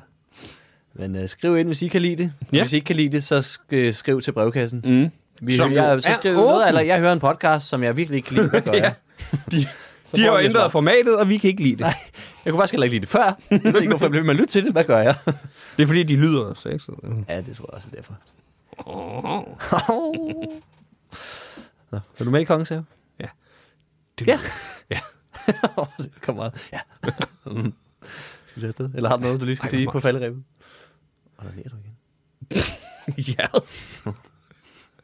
Speaker 4: Men uh, skriv ind, hvis I kan lide det. Ja.
Speaker 5: Ja.
Speaker 4: Hvis I ikke kan lide det, så sk- øh, skriv til brevkassen.
Speaker 5: mm.
Speaker 4: Vi,
Speaker 5: Som jo
Speaker 4: jeg, så
Speaker 5: er
Speaker 4: skriver jeg noget,
Speaker 5: åben.
Speaker 4: eller jeg hører en podcast, som jeg virkelig ikke kan lide. Hvad gør jeg?
Speaker 5: De,
Speaker 4: Så prøver
Speaker 5: de har
Speaker 4: vi at svare.
Speaker 5: ændret formatet, og vi kan ikke lide det.
Speaker 4: Nej, jeg kunne faktisk heller ikke lide det før. Jeg ved ikke, hvorfor jeg blev ved med at lytte til det. Hvad gør jeg?
Speaker 5: Det er fordi, de lyder sexet.
Speaker 4: ja, det tror jeg også er derfor.
Speaker 5: Oh.
Speaker 4: Nå, er du med i Kongens Have?
Speaker 5: Det
Speaker 4: Ja.
Speaker 5: lyder. Ja.
Speaker 4: Kom meget. Ja. Mm. skal vi afsted? Eller har du noget, du lige skal
Speaker 5: Ej,
Speaker 4: sige
Speaker 5: hvor
Speaker 4: på falderæbet? Og der lærer du igen.
Speaker 5: ja.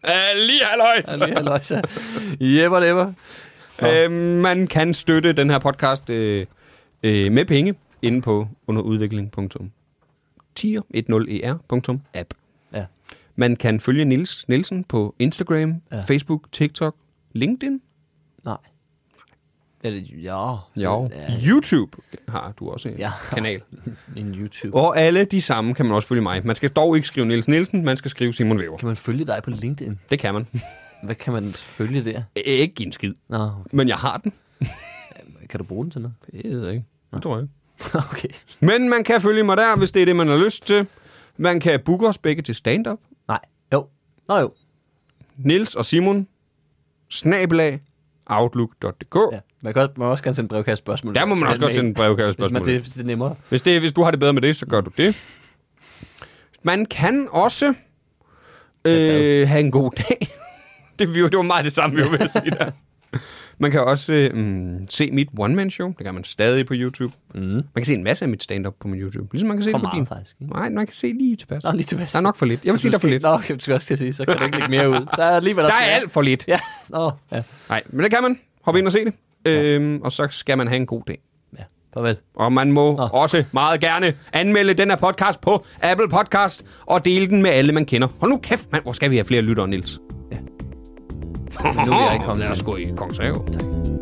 Speaker 5: Uh, lige halløj.
Speaker 4: Ja, lige halløjsa. Yep og never.
Speaker 5: Øh, man kan støtte den her podcast øh, øh, med penge inde på e underudvikling.tier10er.app.
Speaker 4: Ja.
Speaker 5: Man kan følge Nils Nielsen på Instagram,
Speaker 4: Ja.
Speaker 5: ja. Facebook, TikTok, LinkedIn,
Speaker 4: Nej. Eller, ja.
Speaker 5: jo.
Speaker 4: Ja,
Speaker 5: Ja. YouTube har du også en
Speaker 4: Ja.
Speaker 5: ja. kanal.
Speaker 4: en YouTube.
Speaker 5: Og alle de samme kan man også følge mig. Man skal dog ikke skrive Nils Nielsen, man skal skrive Simon Wever.
Speaker 4: Kan man følge dig på LinkedIn?
Speaker 5: Det kan man.
Speaker 4: Hvad kan man følge der?
Speaker 5: ikke give en skid.
Speaker 4: Nå, okay.
Speaker 5: Men jeg har den.
Speaker 4: kan du bruge den til noget?
Speaker 5: Det ved jeg ikke. Det tror jeg ikke.
Speaker 4: okay.
Speaker 5: Men man kan følge mig der, hvis det er det, man har lyst til. Man kan booke os begge til stand-up.
Speaker 4: Nej. Jo. Nå jo.
Speaker 5: Nils og Simon, snabelag, outlook.dk.
Speaker 4: Ja. Man kan også, man må også gerne sende brevkasse spørgsmål.
Speaker 5: Der må man også godt
Speaker 4: mail,
Speaker 5: sende brevkære
Speaker 4: Hvis, man,
Speaker 5: spørgsmål.
Speaker 4: det,
Speaker 5: Hvis,
Speaker 4: hvis det er nemmere.
Speaker 5: hvis, det, hvis du har det bedre med det, så gør du det. Man kan også øh, have en god dag. det, vi var- det var meget det samme, vi var ved at sige der. Man kan også øh, mm, se mit one-man-show. Det kan man stadig på YouTube. Mm. Man kan se en masse af mit stand-up på min YouTube. Ligesom man kan se
Speaker 4: For
Speaker 5: det på
Speaker 4: meget,
Speaker 5: din.
Speaker 4: faktisk, ikke?
Speaker 5: Nej, man kan se lige tilpas.
Speaker 4: Nå, lige tilbage.
Speaker 5: Der er nok for lidt. Jeg vil sige, der er for lidt.
Speaker 4: Nå, okay, du skal også til at sige, så kan du ikke lægge mere ud. Der er alligevel
Speaker 5: Der
Speaker 4: også
Speaker 5: er
Speaker 4: mere.
Speaker 5: alt for lidt.
Speaker 4: Ja, nå, ja.
Speaker 5: Nej, men det kan man. Hop ind og se det. Øhm, og så skal man have en god dag.
Speaker 4: ja. Farvel.
Speaker 5: Og man må
Speaker 4: Nå.
Speaker 5: Nå. også meget gerne anmelde den her podcast på Apple Podcast og dele den med alle, man kender. Hold nu kæft, mand. Hvor skal vi have flere lyttere, Niels? Ja.
Speaker 4: nu er jeg i Kongens
Speaker 5: Lad os
Speaker 4: Have.
Speaker 5: gå i Kongens Have.